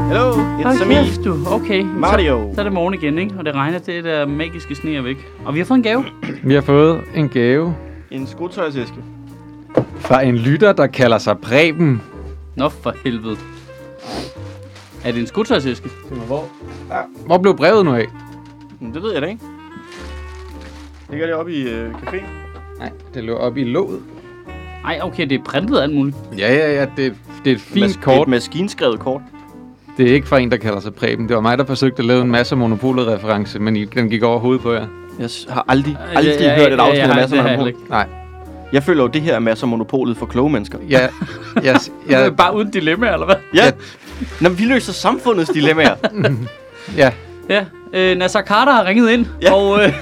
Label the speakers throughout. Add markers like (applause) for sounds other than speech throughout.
Speaker 1: It's
Speaker 2: Hold
Speaker 1: me,
Speaker 2: kæft, du. Okay.
Speaker 1: Mario.
Speaker 2: Så, så er det morgen igen, ikke? Og det regner, det der magiske sne er væk. Og vi har fået en gave.
Speaker 3: Vi har fået en gave
Speaker 1: En skotøjsæske.
Speaker 3: fra en lytter, der kalder sig Preben.
Speaker 2: Nå for helvede. Er det en skudtøjsæske?
Speaker 3: Hvor blev brevet nu af?
Speaker 1: Men Hm, det ved jeg da ikke. Ligger det oppe i øh, caféen?
Speaker 3: Nej, det lå op i låget.
Speaker 2: Nej, okay, det er printet og alt muligt.
Speaker 3: Ja, ja, ja, det, det er et fint
Speaker 1: Mas-
Speaker 3: kort.
Speaker 1: Et maskinskrevet kort.
Speaker 3: Det er ikke fra en, der kalder sig Preben. Det var mig, der forsøgte at lave en masse monopolet-reference, men I- den gik over hovedet på jer.
Speaker 1: Jeg s- har aldrig, aldrig ja, hørt et afsnit af
Speaker 2: har-
Speaker 1: Masser
Speaker 2: det har jeg
Speaker 1: Monopol.
Speaker 2: heller ikke.
Speaker 3: Nej,
Speaker 1: Jeg føler jo, det her er Masser Monopolet for kloge mennesker.
Speaker 3: jeg, jeg,
Speaker 2: (laughs) Det
Speaker 3: jeg,
Speaker 2: er bare uden dilemma, eller hvad?
Speaker 1: Ja. Nå, men vi løser samfundets dilemmaer.
Speaker 3: ja,
Speaker 2: Ja, øh, Nasser Carter har ringet ind,
Speaker 1: Ja.
Speaker 2: ja. og øh,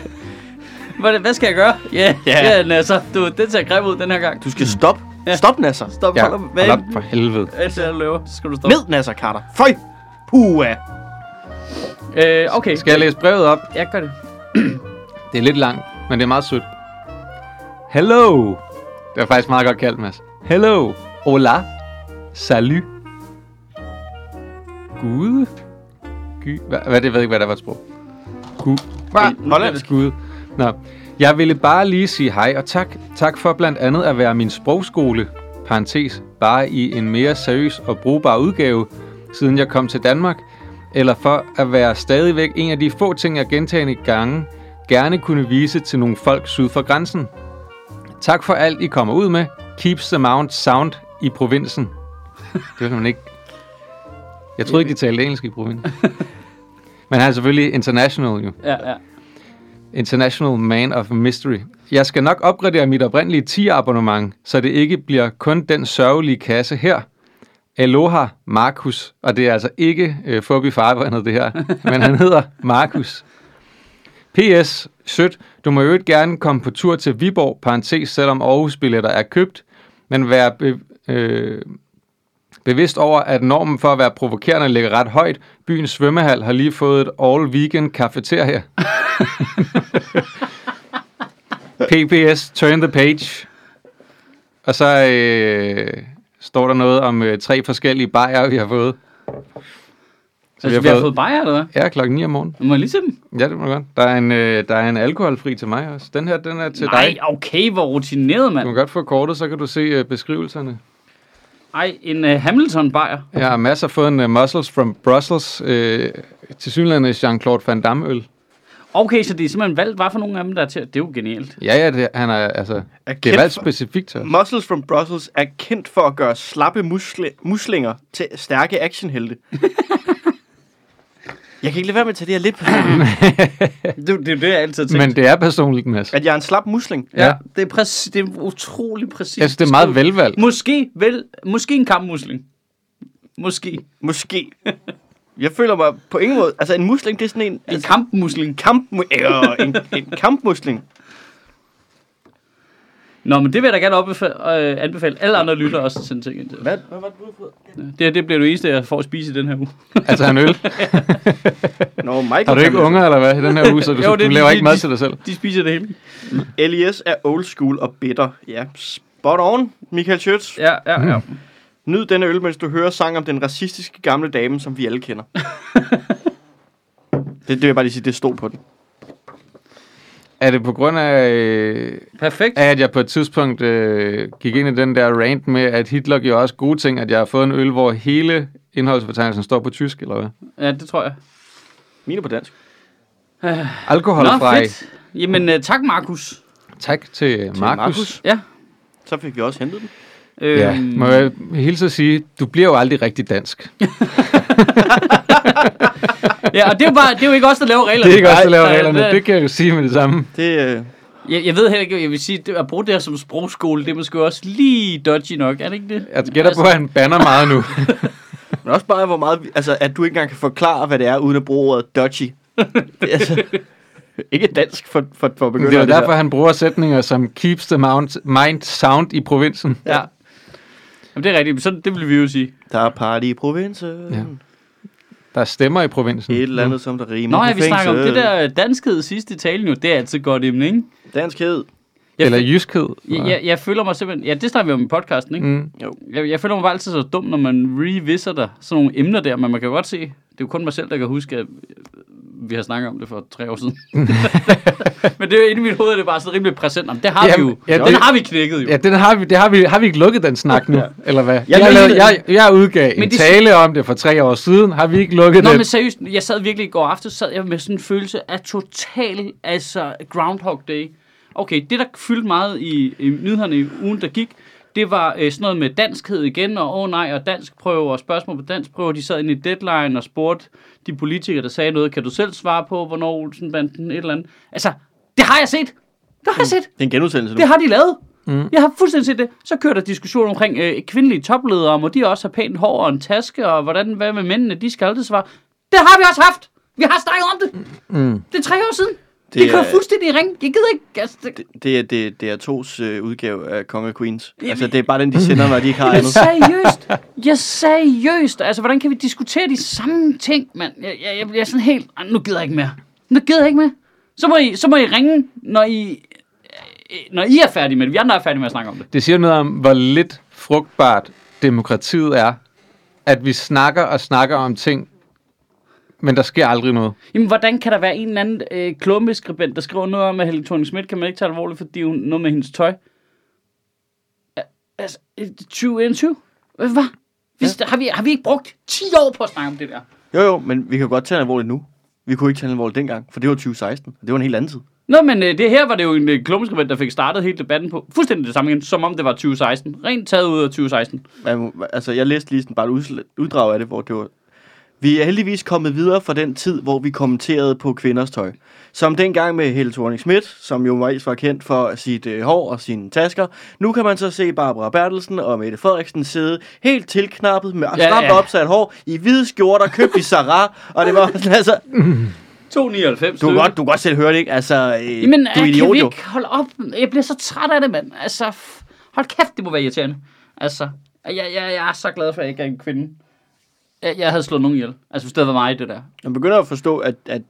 Speaker 2: (laughs) hvad, hvad skal jeg gøre? Ja,
Speaker 1: Ja.
Speaker 2: ja. ja Nasser, du, den ser grim ud den her gang.
Speaker 1: Du skal stoppe.
Speaker 2: Ja.
Speaker 1: Stop, Nasser.
Speaker 2: Stop,
Speaker 3: ja,
Speaker 2: hold op,
Speaker 3: hold op
Speaker 2: hvad
Speaker 3: for helvede.
Speaker 2: altså, jeg løber, så skal du stoppe.
Speaker 1: Ned, Nasser Carter. Føj! Pua!
Speaker 2: Øh, okay,
Speaker 3: Skal jeg læse brevet op?
Speaker 2: jeg gør det.
Speaker 3: Det er lidt langt, men det er meget sødt. Hello! Det var faktisk meget godt kaldt, Mads. Hello! Hola! Salut! Gud? Gy? Hvad, hvad det? Jeg ved ikke, hvad der var et sprog. Gud.
Speaker 1: Hva? Hollandsk?
Speaker 3: Gud. Nå. Jeg ville bare lige sige hej og tak. Tak for blandt andet at være min sprogskole, parentes, bare i en mere seriøs og brugbar udgave, siden jeg kom til Danmark, eller for at være stadigvæk en af de få ting, jeg gentagende gange gerne kunne vise til nogle folk syd for grænsen. Tak for alt, I kommer ud med. Keeps the mount sound i provinsen. Det var man ikke... Jeg troede ikke, de talte engelsk i provinsen. Men han er selvfølgelig international, jo.
Speaker 2: Ja, ja.
Speaker 3: International Man of Mystery. Jeg skal nok opgradere mit oprindelige 10-abonnement, så det ikke bliver kun den sørgelige kasse her. Aloha, Markus. Og det er altså ikke øh, Fobi Farvandet, det her. Men han hedder Markus. P.S. Sødt, du må jo ikke gerne komme på tur til Viborg, parentes, selvom Aarhus-billetter er købt, men vær be, øh, bevidst over, at normen for at være provokerende ligger ret højt. Byens svømmehal har lige fået et all-weekend kafeteria. PPS, turn the page. Og så øh, står der noget om øh, tre forskellige bajer, vi har fået.
Speaker 2: Så altså, vi har fået bajer, eller hvad?
Speaker 3: Ja, klokken 9 om morgenen.
Speaker 2: Må jeg lige se dem?
Speaker 3: Ja, det må du godt. Der er, en, øh, der er en alkoholfri til mig også. Den her, den er til
Speaker 2: Nej,
Speaker 3: dig.
Speaker 2: okay, hvor rutineret,
Speaker 3: Du må
Speaker 2: mand.
Speaker 3: godt få kortet, så kan du se øh, beskrivelserne.
Speaker 2: Ej, en uh, Hamilton-bajer.
Speaker 3: Jeg har masser fået en uh, Muscles from Brussels, øh, til synligheden Jean-Claude Van Damme-øl.
Speaker 2: Okay, så det er simpelthen valgt, hvad for nogle af dem, der er til. Det er jo genialt.
Speaker 3: Ja, ja, det, han er, altså, det
Speaker 1: kendt
Speaker 3: er valgt
Speaker 1: for-
Speaker 3: specifikt til os.
Speaker 1: Muscles from Brussels er kendt for at gøre slappe musli- muslinger til stærke actionhelte. jeg kan ikke lade være med at tage det her lidt personligt,
Speaker 2: (laughs) Det, det er jo det, jeg altid tænker.
Speaker 3: Men det er personligt, Mads.
Speaker 1: at jeg er en slap musling.
Speaker 2: Ja,
Speaker 3: Ja.
Speaker 2: det er, præcis, det er utrolig præcis.
Speaker 3: Jeg synes, det er meget velvalgt.
Speaker 2: Måske, vel, måske en kampmusling. Måske.
Speaker 1: Måske. Jeg føler mig på ingen måde... Altså, en musling, det er sådan en...
Speaker 2: En
Speaker 1: en
Speaker 2: kampmusling.
Speaker 1: kamp... Øh, en, en kampmusling. Hvad,
Speaker 2: Nå, men det vil jeg da gerne opbefale, øh, anbefale alle andre lyttere også at sende ting ind til. Hvad?
Speaker 1: hvad var det, du havde fået?
Speaker 2: Det, her, det bliver det eneste, jeg får at spise i den her uge.
Speaker 3: Altså, han øl.
Speaker 1: Nå, Michael
Speaker 3: Har du ikke
Speaker 1: Hamilton.
Speaker 3: unger, eller hvad, i den her uge, så du,
Speaker 2: Jo,
Speaker 3: jo,
Speaker 2: det
Speaker 3: du
Speaker 2: er
Speaker 3: laver
Speaker 2: lige-
Speaker 3: ikke mad til dig selv?
Speaker 2: De spiser det hele.
Speaker 1: LES er old school og bitter. Ja, spot on, Michael Schøtz.
Speaker 2: Ja, ja, ja.
Speaker 3: Mm.
Speaker 1: Nyd denne øl, mens du hører sang om den racistiske gamle dame, som vi alle
Speaker 3: (laughs)
Speaker 1: kender. det, det vil jeg bare lige sige, det stod på den.
Speaker 3: Er det på grund af, øh,
Speaker 2: Perfekt.
Speaker 3: af, at jeg på et tidspunkt øh, gik ind i den der rant med, at Hitler gjorde også gode ting, at jeg har fået en øl, hvor hele indholdsfortegnelsen står på tysk, eller hvad?
Speaker 2: Ja, det tror jeg.
Speaker 1: Mine på dansk.
Speaker 3: Alkoholfri.
Speaker 2: Jamen, øh, tak, Markus.
Speaker 3: Tak til Markus. Øhm.
Speaker 2: Ja.
Speaker 1: Så fik vi også hentet den.
Speaker 2: Øh,
Speaker 3: Ja, må jeg hilse at sige, du bliver jo aldrig rigtig (laughs) dansk. Det
Speaker 2: ja, og det er, jo bare, det er jo ikke os, der laver reglerne.
Speaker 3: er ikke os, der laver
Speaker 2: Nej,
Speaker 3: reglerne.
Speaker 2: nej,
Speaker 3: Det kan jeg jo sige med det samme.
Speaker 1: Det, øh,
Speaker 2: Jeg, jeg ved heller ikke, jeg vil sige, det, at bruge det her som sprogskole, det er måske også lige dodgy nok, er det ikke det? Altså,
Speaker 3: Jeg gætter på, at han banner meget (laughs) nu.
Speaker 1: men også bare, hvor meget... vi- Altså, at du ikke engang kan forklare, hvad det er, uden at bruge ordet
Speaker 2: (laughs)
Speaker 1: dodgy. Det er altså, ikke dansk for, for, for begynder.
Speaker 3: Det er jo derfor, han bruger sætninger som keeps the mount, mind sound i provinsen.
Speaker 2: Ja. Jamen, det er rigtigt, men sådan, det vil vi jo sige.
Speaker 1: Der er party i provinsen.
Speaker 3: Ja.
Speaker 1: Ja.
Speaker 3: Der er stemmer i provinsen.
Speaker 1: Et eller andet, som der rimer
Speaker 2: Nå
Speaker 1: på
Speaker 2: ja, vi snakker om det øh,
Speaker 1: fængsel.
Speaker 2: der danskhed sidst i talen jo, det er altid godt emne, ikke?
Speaker 1: Danskhed.
Speaker 2: Jeg
Speaker 3: Eller
Speaker 2: fik-
Speaker 3: jyskhed.
Speaker 2: Jeg, jeg, jeg føler mig simpelthen... Ja, det snakker vi om i podcasten, ikke?
Speaker 3: Mm.
Speaker 1: Jo.
Speaker 2: Jeg, jeg føler mig bare altid så dum, når man revisiter sådan nogle emner der, men man kan godt se, det er jo kun mig selv, der kan huske, at øh, vi har snakket om det for tre år
Speaker 3: (laughs)
Speaker 2: siden. men det er jo inde i mit hoved, er det bare sådan rimelig præsent. Jamen, det har
Speaker 3: Jamen,
Speaker 2: vi jo.
Speaker 3: ja,
Speaker 2: Ja, den
Speaker 3: det-
Speaker 2: har vi knækket jo.
Speaker 3: Ja, den har vi, det har, vi, har vi ikke lukket den snak nu, eller hvad? Jeg, jeg,
Speaker 1: mener
Speaker 3: lavede,
Speaker 1: det.
Speaker 3: jeg, jeg udgav en
Speaker 2: Men det-
Speaker 3: tale om det for tre år siden. Har vi ikke lukket
Speaker 2: Nå,
Speaker 3: den?
Speaker 2: men seriøst, jeg sad virkelig i går aftes, sad jeg med sådan en følelse af total, altså Groundhog Day. Okay, det der fyldte meget i, i nyhederne i ugen, der gik, det var øh, sådan noget med danskhed igen, og åh oh, nej, og dansk prøve, og spørgsmål på dansk prøve. De sad inde i deadline og spurgte de politikere, der sagde noget, kan du selv svare på, hvornår Olsenbanden, et eller andet. Altså, det har jeg set! Det har jeg set!
Speaker 1: Det er en genudsendelse nu.
Speaker 2: Det har de lavet. Mm. Jeg har fuldstændig set det. Så kører der diskussion omkring øh, kvindelige topledere, om de også har pænt hår og en taske, og hvordan, hvad med mændene, de skal aldrig svare. Det har vi også haft. Vi har snakket om det. Mm. Det er tre år siden. Det, det
Speaker 1: Det
Speaker 2: kører
Speaker 1: er-
Speaker 2: fuldstændig i ring. Jeg gider ikke. Altså, det, det,
Speaker 1: Det, det er det, det er tos øh, udgave af Konge og Queens. Altså, det er bare den, de sender, når de
Speaker 2: (laughs)
Speaker 1: ikke har
Speaker 2: jeg
Speaker 1: andet.
Speaker 2: seriøst. Jeg seriøst. Altså, hvordan kan vi diskutere de samme ting, mand? Jeg, jeg, jeg bliver sådan helt... "Ej, Nu gider jeg ikke mere. Nu gider jeg ikke mere. Så må I, så må I ringe, når I, øh, når I er færdige med det. Vi andre er færdige med at snakke om det.
Speaker 3: Det siger noget om, hvor lidt frugtbart demokratiet er, at vi snakker og snakker om ting, men der sker aldrig noget.
Speaker 2: Jamen, hvordan kan der være en eller anden øh, klumpeskribent, der skriver noget om, at Helle thorning Schmidt kan man ikke tage alvorligt, fordi hun noget med hendes tøj? Al- Altså, øh, 2021? Hvad? Hva? Hvis, ja. har, vi, har vi ikke brugt 10 år på at snakke om det der?
Speaker 1: Jo, jo, men vi kan godt tage den alvorligt nu. Vi kunne ikke tage den alvorligt dengang, for det var 2016. Og det var en helt anden tid.
Speaker 2: Nå, men øh, det her var det jo en øh, klumpeskribent, der fik startet hele debatten på fuldstændig det samme igen, som om det var 2016. Rent taget ud af 2016.
Speaker 1: Man må- Altså, jeg læste lige sådan bare et udsl- uddrag af det, hvor det var... Vi er heldigvis kommet videre fra den tid, hvor vi kommenterede på kvinders tøj. Som dengang med Helle thorning Schmidt, som jo mest var kendt for sit øh, hår og sine tasker. Nu kan man så se Barbara Bertelsen og Mette Frederiksen sidde helt tilknappet med
Speaker 2: Ja,
Speaker 1: ja, stramt
Speaker 2: ja.
Speaker 1: ja. opsat hår i hvide skjorter, købt i Zara. og det var sådan, altså,
Speaker 2: 299.
Speaker 1: Du kan
Speaker 2: stykke.
Speaker 1: godt, du kan godt selv høre det, ikke? Altså, øh,
Speaker 2: Jamen,
Speaker 1: du er
Speaker 2: kan
Speaker 1: idiot
Speaker 2: vi
Speaker 1: jo.
Speaker 2: ikke holde op? Jeg bliver så træt af det, mand. Altså, f- hold kæft, det må være irriterende. Altså, jeg, jeg, jeg er så glad for, at jeg ikke er en kvinde. Jeg, jeg havde slået nogen ihjel. Altså, hvis det havde været mig, det der.
Speaker 1: Man begynder at forstå, at, at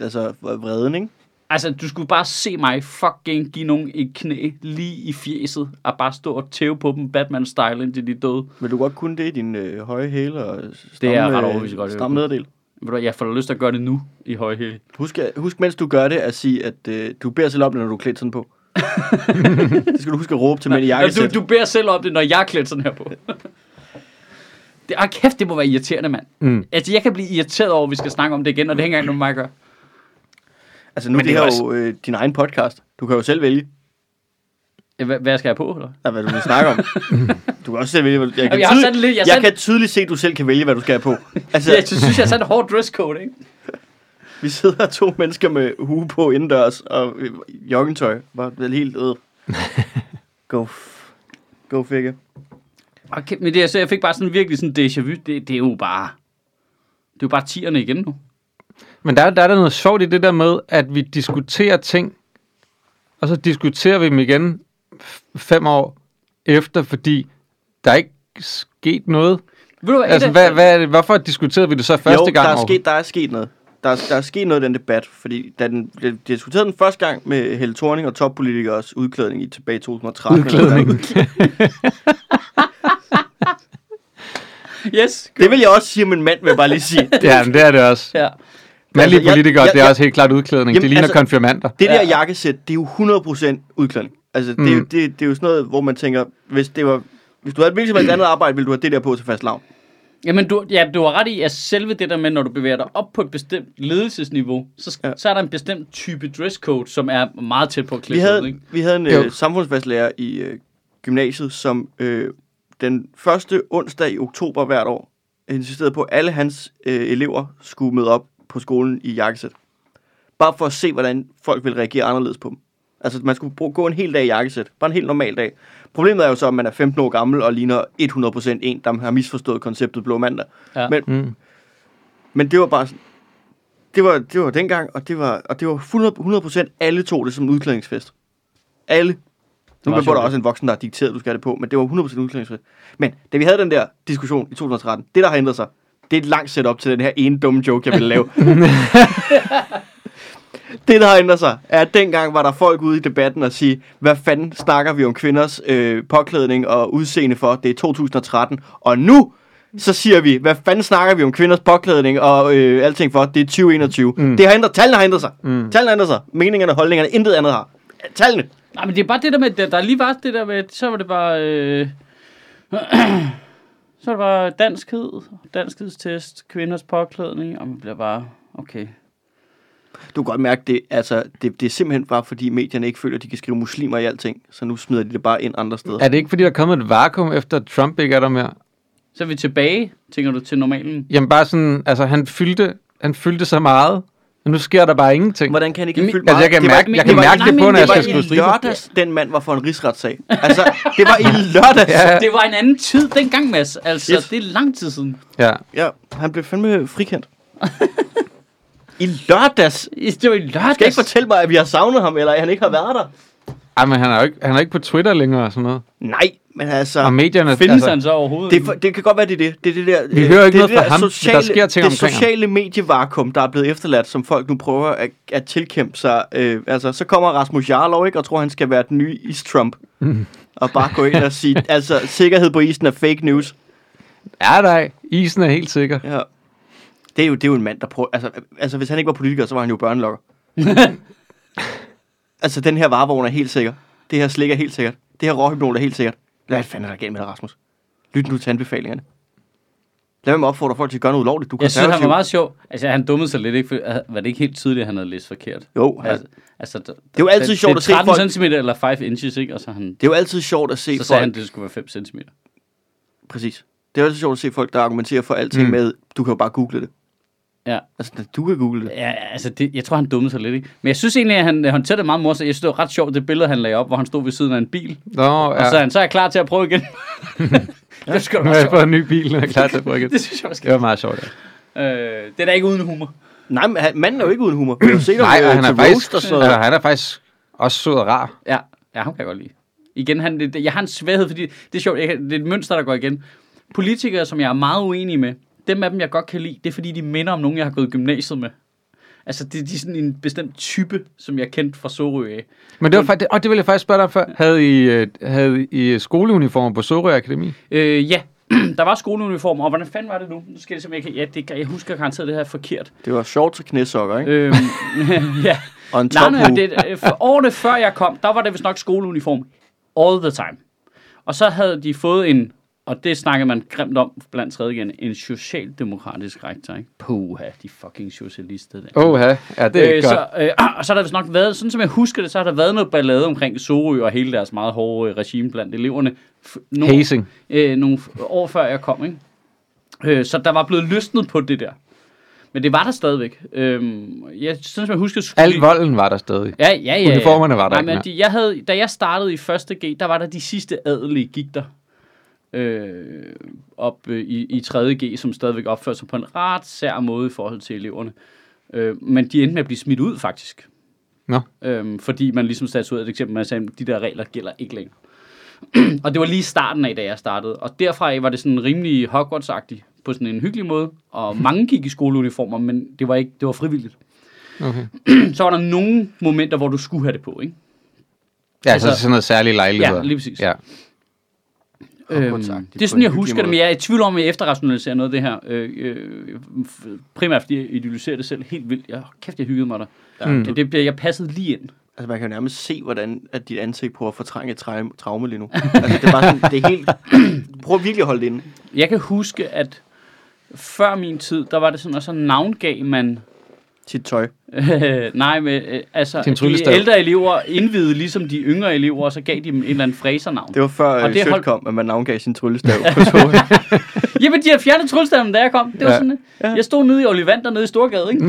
Speaker 1: altså, vreden, ikke?
Speaker 2: Altså, du skulle bare se mig fucking give nogen et knæ lige i fjeset, og bare stå og tæve på dem Batman-style, indtil de er døde.
Speaker 1: Men du kan godt kunne det i din øh, høje hæle og
Speaker 2: jeg
Speaker 1: stramme, øh,
Speaker 2: ret overbevist godt, jeg
Speaker 1: stramme
Speaker 2: kunne.
Speaker 1: nederdel.
Speaker 2: Ved du, hvad, jeg får lyst til at gøre det nu i høje hæle.
Speaker 1: Husk, at- husk, mens du gør det, at sige, at øh, du beder selv om det, når du er klædt sådan
Speaker 2: (laughs)
Speaker 1: på. det skal du huske at råbe til mænd i
Speaker 2: Ja,
Speaker 1: jakkesæt.
Speaker 2: du, du beder selv om det, når jeg er klædt sådan her på. det, ah, kæft, det må være irriterende, mand.
Speaker 3: Mm.
Speaker 2: Altså, jeg kan blive irriteret over, at vi skal snakke om det igen, og det hænger ikke noget med mig at gøre.
Speaker 1: Altså, nu
Speaker 2: Men
Speaker 1: det
Speaker 2: det
Speaker 1: er
Speaker 2: er
Speaker 1: det
Speaker 2: jo
Speaker 1: her jo øh, din egen podcast. Du kan jo selv vælge,
Speaker 2: Ja, Hvad, hvad skal jeg på, eller?
Speaker 1: af, hvad du vil snakke om. du kan også selv vælge, hvad du... Jeg kan,
Speaker 2: jeg har sat lidt- jeg
Speaker 1: jeg,
Speaker 2: har
Speaker 1: jeg kan tydeligt se, at du selv kan vælge, hvad du skal
Speaker 2: (laughs)
Speaker 1: have på. Altså,
Speaker 2: Så jeg synes, jeg satte en hård dresscode, ikke?
Speaker 1: Vi sidder to mennesker med hue på indendørs og øh, joggingtøj. Var vel helt
Speaker 2: (laughs)
Speaker 1: øde. Go. f- Go figure.
Speaker 2: Okay, men det, er så jeg fik bare sådan virkelig sådan déjà vu. Det, det er jo bare... Det er jo bare tierne igen nu.
Speaker 3: Men der, der er der noget sjovt i det der med, at vi diskuterer ting, og så diskuterer vi dem igen f- fem år efter, fordi der er ikke sket noget.
Speaker 2: Ved du hvad,
Speaker 3: Altså,
Speaker 2: et af-
Speaker 3: hvad, hvad er det, hvorfor diskuterede vi det så første
Speaker 1: jo,
Speaker 3: gang?
Speaker 1: der er,
Speaker 3: overhovedet?
Speaker 1: sket, der er sket noget. Der er, der er sket noget i den debat, fordi da den blev diskuteret den første gang med Helle Thorning og toppolitikers udklædning i tilbage i 2013. eller sådan noget.
Speaker 2: Yes.
Speaker 1: Det vil jeg også sige om en mand, vil jeg bare lige
Speaker 3: (laughs)
Speaker 1: sige.
Speaker 3: Ja, men det er det også.
Speaker 2: Ja.
Speaker 3: Mandlige
Speaker 1: Altså, jeg-
Speaker 3: politikere,
Speaker 1: jeg-
Speaker 3: det er
Speaker 1: jeg-
Speaker 3: også helt klart udklædning.
Speaker 1: Jamen,
Speaker 3: det ligner
Speaker 1: altså-
Speaker 3: konfirmander.
Speaker 1: Det der
Speaker 2: Ja.
Speaker 1: jakkesæt, det er jo 100% udklædning. Altså, det, er jo,
Speaker 3: Mm.
Speaker 1: det, det er jo sådan noget, hvor man tænker, hvis, det var, hvis du havde et hvilket som helst andet arbejde, ville du have det der på til fast lavn.
Speaker 2: Jamen, du, ja, du har ret i, at selve det der med, når du bevæger dig op på et bestemt ledelsesniveau, så, ja.
Speaker 1: Ja.
Speaker 2: så er der en bestemt type dresscode, som er meget tæt på at
Speaker 1: Vi
Speaker 2: klæde sig ud,
Speaker 1: havde,
Speaker 2: ikke?
Speaker 1: vi havde en
Speaker 3: Jo.
Speaker 1: øh, samfundsfagslærer i øh, gymnasiet, som øh, den første onsdag i oktober hvert år insisterede på, at alle hans øh, elever skulle møde op på skolen i jakkesæt. Bare for at se, hvordan folk ville reagere anderledes på dem. Altså, man skulle bruge, gå en hel dag i jakkesæt. Bare en helt normal dag. Problemet er jo så, at man er 15 år gammel og ligner 100% en, der har misforstået konceptet Blå Mandag.
Speaker 2: Ja.
Speaker 1: Men,
Speaker 3: Mm.
Speaker 1: mm. men det var bare sådan- det var, det var dengang, og det var, og det var 100%, 100% alle tog det som en udklædningsfest. Alle. Nu
Speaker 2: meget
Speaker 1: var der
Speaker 2: sjovt.
Speaker 1: også en voksen, der har dikteret, at du skal have det på, men det var 100% udklædningsfest. Men da vi havde den der diskussion i 2013, det der har ændret sig, det er et langt setup til den her ene dumme joke, jeg ville lave. Det, der har ændret sig, er, at dengang var der folk ude i debatten og sige, hvad fanden snakker vi om kvinders øh, påklædning og udseende for? Det er 2013. Og nu så siger vi, hvad fanden snakker vi om kvinders påklædning og øh, alting for? Det er 2021. Mm. Det har ændret, tallene har ændret sig. Mm. Tallene har ændret sig. Meningerne, holdningerne, intet andet har. Tallene.
Speaker 2: Nej, men det er bare det der med, der, der lige var det der med, så var det bare... Øh, (clears throat) så var det bare danskhed, danskhedstest, kvinders påklædning, og man bliver bare, okay.
Speaker 1: Du kan godt mærke, det, altså, det, det er simpelthen bare, fordi medierne ikke føler, at de kan skrive muslimer i alting, så nu smider de det bare ind andre steder.
Speaker 3: Er det ikke, fordi der er kommet et vakuum, efter at Trump ikke er der mere?
Speaker 2: Så er vi tilbage, tænker du, til normalen.
Speaker 3: Jamen bare sådan, altså han fyldte, han fyldte så meget, men nu sker der bare ingenting.
Speaker 1: Hvordan kan han ikke
Speaker 2: Jamen,
Speaker 1: have fyldt
Speaker 3: altså, jeg kan
Speaker 1: Det var-
Speaker 3: mærke- jeg
Speaker 1: det
Speaker 3: kan
Speaker 1: var-
Speaker 3: mærke det
Speaker 1: nej,
Speaker 3: på,
Speaker 1: men
Speaker 3: når jeg
Speaker 1: var (laughs)
Speaker 3: skal skrive
Speaker 1: i
Speaker 3: striber.
Speaker 1: lørdags, den mand var for en rigsretssag. Altså, det var i lørdags.
Speaker 3: Ja,
Speaker 2: Det var en anden tid dengang, Mads. Altså,
Speaker 1: Yes.
Speaker 2: yes. det er lang tid siden.
Speaker 3: ja.
Speaker 1: Ja, han blev fandme frikendt. I lørdags.
Speaker 2: I- Det var i lørdags.
Speaker 1: Skal ikke fortælle mig, at vi har savnet ham, eller at han ikke har været der?
Speaker 3: Ej, men han er, jo ikke, han er ikke på Twitter længere og sådan noget.
Speaker 1: Nej, men altså...
Speaker 3: Og medierne,
Speaker 2: Findes
Speaker 3: altså,
Speaker 2: altså, han så overhovedet?
Speaker 1: Det, er for, det kan godt være, det er det. Det er det der,
Speaker 3: Vi
Speaker 1: øh,
Speaker 3: hører ikke
Speaker 1: det er
Speaker 3: noget
Speaker 1: det
Speaker 3: fra
Speaker 1: der
Speaker 3: ham, men der
Speaker 1: sociale,
Speaker 3: sker ting
Speaker 1: Det
Speaker 3: omkring ham.
Speaker 1: sociale medievakuum, der er blevet efterladt, som folk nu prøver at, at tilkæmpe sig. Øh, altså, så kommer Rasmus Jarlov, ikke, og tror, han skal være den nye is-Trump. Mm. Og bare gå ind og sige, altså, sikkerhed på isen er fake news.
Speaker 3: Ja, nej. Isen er helt sikker.
Speaker 1: Ja. Det er jo, det er jo en mand, der prøver... Altså, altså, hvis han ikke var politiker, så var han jo børnelokker.
Speaker 2: (laughs)
Speaker 1: altså, den her varevogn er helt sikker. Det her slik er helt sikkert. Det her råhypnol er helt sikkert. Hvad fanden er der galt med dig, Rasmus? Lyt nu til anbefalingerne. Lad mig opfordre folk til at gøre noget ulovligt. Du er
Speaker 2: Jeg synes, han var
Speaker 1: konservativ.
Speaker 2: meget sjov. Altså, han dummede sig lidt, ikke? For, øh, var det ikke helt tydeligt, at han havde læst forkert?
Speaker 1: Jo, han,
Speaker 2: Altså, altså, det
Speaker 1: jo altid sjovt at se
Speaker 2: Det er 13
Speaker 1: folk-
Speaker 2: cm eller 5 inches, ikke? Og så, han,
Speaker 1: det er jo altid sjovt at se
Speaker 2: så
Speaker 1: folk...
Speaker 2: sagde han, at det skulle være 5 cm.
Speaker 1: Præcis. Det er jo altid sjovt at se folk, der argumenterer for alting
Speaker 3: Mm.
Speaker 1: mm. med, du kan jo bare google det.
Speaker 2: Ja.
Speaker 1: Altså, du kan google det.
Speaker 2: Ja, altså, det, jeg tror, han dummede sig lidt, ikke? Men jeg synes egentlig, at han øh, håndterede det meget morsomt. Jeg synes, det var ret sjovt, det billede, han lagde op, hvor han stod ved siden af en bil.
Speaker 3: Nå,
Speaker 2: Ja. Og så er
Speaker 3: ja.
Speaker 2: han, så er jeg klar til at
Speaker 1: (laughs)
Speaker 2: prøve igen. det skal du
Speaker 3: (laughs) Nu har jeg
Speaker 2: også.
Speaker 3: fået en ny bil, og er klar til at bruge
Speaker 2: Det
Speaker 3: det.
Speaker 2: synes jeg også.
Speaker 3: Det var meget sjovt. Ja.
Speaker 2: Øh, det er da ikke uden humor.
Speaker 1: Nej, men han- manden er jo ikke uden humor. Vi har jo set ham
Speaker 3: Nej, og
Speaker 1: øh,
Speaker 3: han
Speaker 1: til
Speaker 3: er,
Speaker 1: roast
Speaker 3: faktisk,
Speaker 1: og sådan
Speaker 3: altså,
Speaker 1: noget.
Speaker 3: han er faktisk også sød og rar.
Speaker 2: Ja, ja ham kan jeg godt lide. Igen, han, det, jeg har en svaghed, fordi det er sjovt, jeg, kan- det er et mønster, der går igen. Politikere, som jeg er meget uenig med, dem af dem, jeg godt kan lide, det er fordi, de minder om nogen, jeg har gået i gymnasiet med. Altså, det, de er sådan en bestemt type, som jeg kendte fra Sorø af.
Speaker 3: Men det var faktisk, og det ville jeg faktisk spørge dig om før. Havde I, øh, havde I skoleuniformer på Sorø Akademi?
Speaker 2: Øh, ja, (clears throat) der var skoleuniform, og hvordan fanden var det nu? Nu skal jeg simpelthen, jeg, kan- ja, det, kan- jeg husker garanteret det her forkert.
Speaker 1: Det var sjovt til knæsokker, ikke?
Speaker 2: Øhm, (laughs) ja.
Speaker 1: Og en
Speaker 2: Nej, nej,
Speaker 1: tophue.
Speaker 2: det, øh, for årene før jeg kom, der var det vist nok skoleuniform all the time. Og så havde de fået en, og det snakkede man grimt om blandt tredje igen, en socialdemokratisk rektor, ikke? Puha, de fucking socialister der.
Speaker 3: Åh, ja. Ja, det er ikke
Speaker 2: Øh,
Speaker 3: godt.
Speaker 2: så, øh, (clears throat) og så har der vist nok været, sådan som jeg husker det, så har der været noget ballade omkring Sorø og hele deres meget hårde øh, regime blandt eleverne. F- nogle,
Speaker 3: Hazing.
Speaker 2: Øh, nogle f- år før jeg kom, ikke? Øh, så der var blevet løsnet på det der. Men det var der stadigvæk. Øh, jeg synes, jeg husker... skulle-
Speaker 3: Al volden var der stadig.
Speaker 2: Ja, ja, ja. ja.
Speaker 3: Uniformerne var der
Speaker 2: Nej,
Speaker 3: ikke
Speaker 2: men de, jeg havde, Da jeg startede i 1.G, der var der de sidste adelige gik der. Øh, op øh, i, i 3.G, som stadigvæk opførte sig på en ret sær måde i forhold til eleverne. Øh, men de endte med at blive smidt ud, faktisk.
Speaker 3: Nå.
Speaker 2: Øhm, fordi man ligesom satte sig ud af et eksempel, man sagde, at de der regler gælder ikke længere. (clears throat) og det var lige i starten af, da jeg startede. Og derfra af var det sådan rimelig hogwarts på sådan en hyggelig måde. Og mange gik i skoleuniformer, men det var, ikke, det var frivilligt.
Speaker 3: Okay.
Speaker 2: (clears throat) Så var der nogle momenter, hvor du skulle have det på, ikke?
Speaker 3: Ja,
Speaker 2: Altså-
Speaker 3: så sådan noget særlige lejligheder.
Speaker 2: Ja, lige præcis.
Speaker 3: Ja.
Speaker 2: Øhm,
Speaker 1: Hogwarts-agtigt
Speaker 2: det er
Speaker 1: på en
Speaker 2: sådan, jeg
Speaker 1: hyggelig
Speaker 2: husker det, men
Speaker 1: måde.
Speaker 2: jeg er i tvivl om, at jeg efterrationaliserer noget af det her. Øh, øh, f- primært fordi jeg idealiserer det selv helt vildt. Jeg, kæft, jeg hyggede mig der. Ja,
Speaker 3: Mm.
Speaker 2: det, det bliver, jeg passede lige ind.
Speaker 1: Altså, man kan jo nærmest se, hvordan at dit ansigt prøver at fortrænge et traum- traume
Speaker 2: (laughs)
Speaker 1: lige nu. Altså, det er bare sådan, det er helt... (clears throat) Prøv virkelig at holde det inde.
Speaker 2: Jeg kan huske, at før min tid, der var det sådan, at så navngav man (laughs)
Speaker 1: Sit tøj.
Speaker 2: Øh, nej, men øh, altså,
Speaker 3: Til en
Speaker 2: de
Speaker 3: tryllestav.
Speaker 2: ældre elever indvidede ligesom de yngre elever, og så gav de dem et eller andet fræsernavn.
Speaker 1: Det var før
Speaker 2: Og
Speaker 1: øh,
Speaker 2: det
Speaker 1: Sjøt
Speaker 2: hold-
Speaker 1: kom, at man navngav sin tryllestav
Speaker 2: (laughs)
Speaker 1: på toget.
Speaker 2: Jamen, de har fjernet tryllestaven, da jeg kom. Det var
Speaker 3: Ja.
Speaker 2: ja. sådan, øh, jeg stod nede i Olivander nede i Storgade, (laughs) ikke?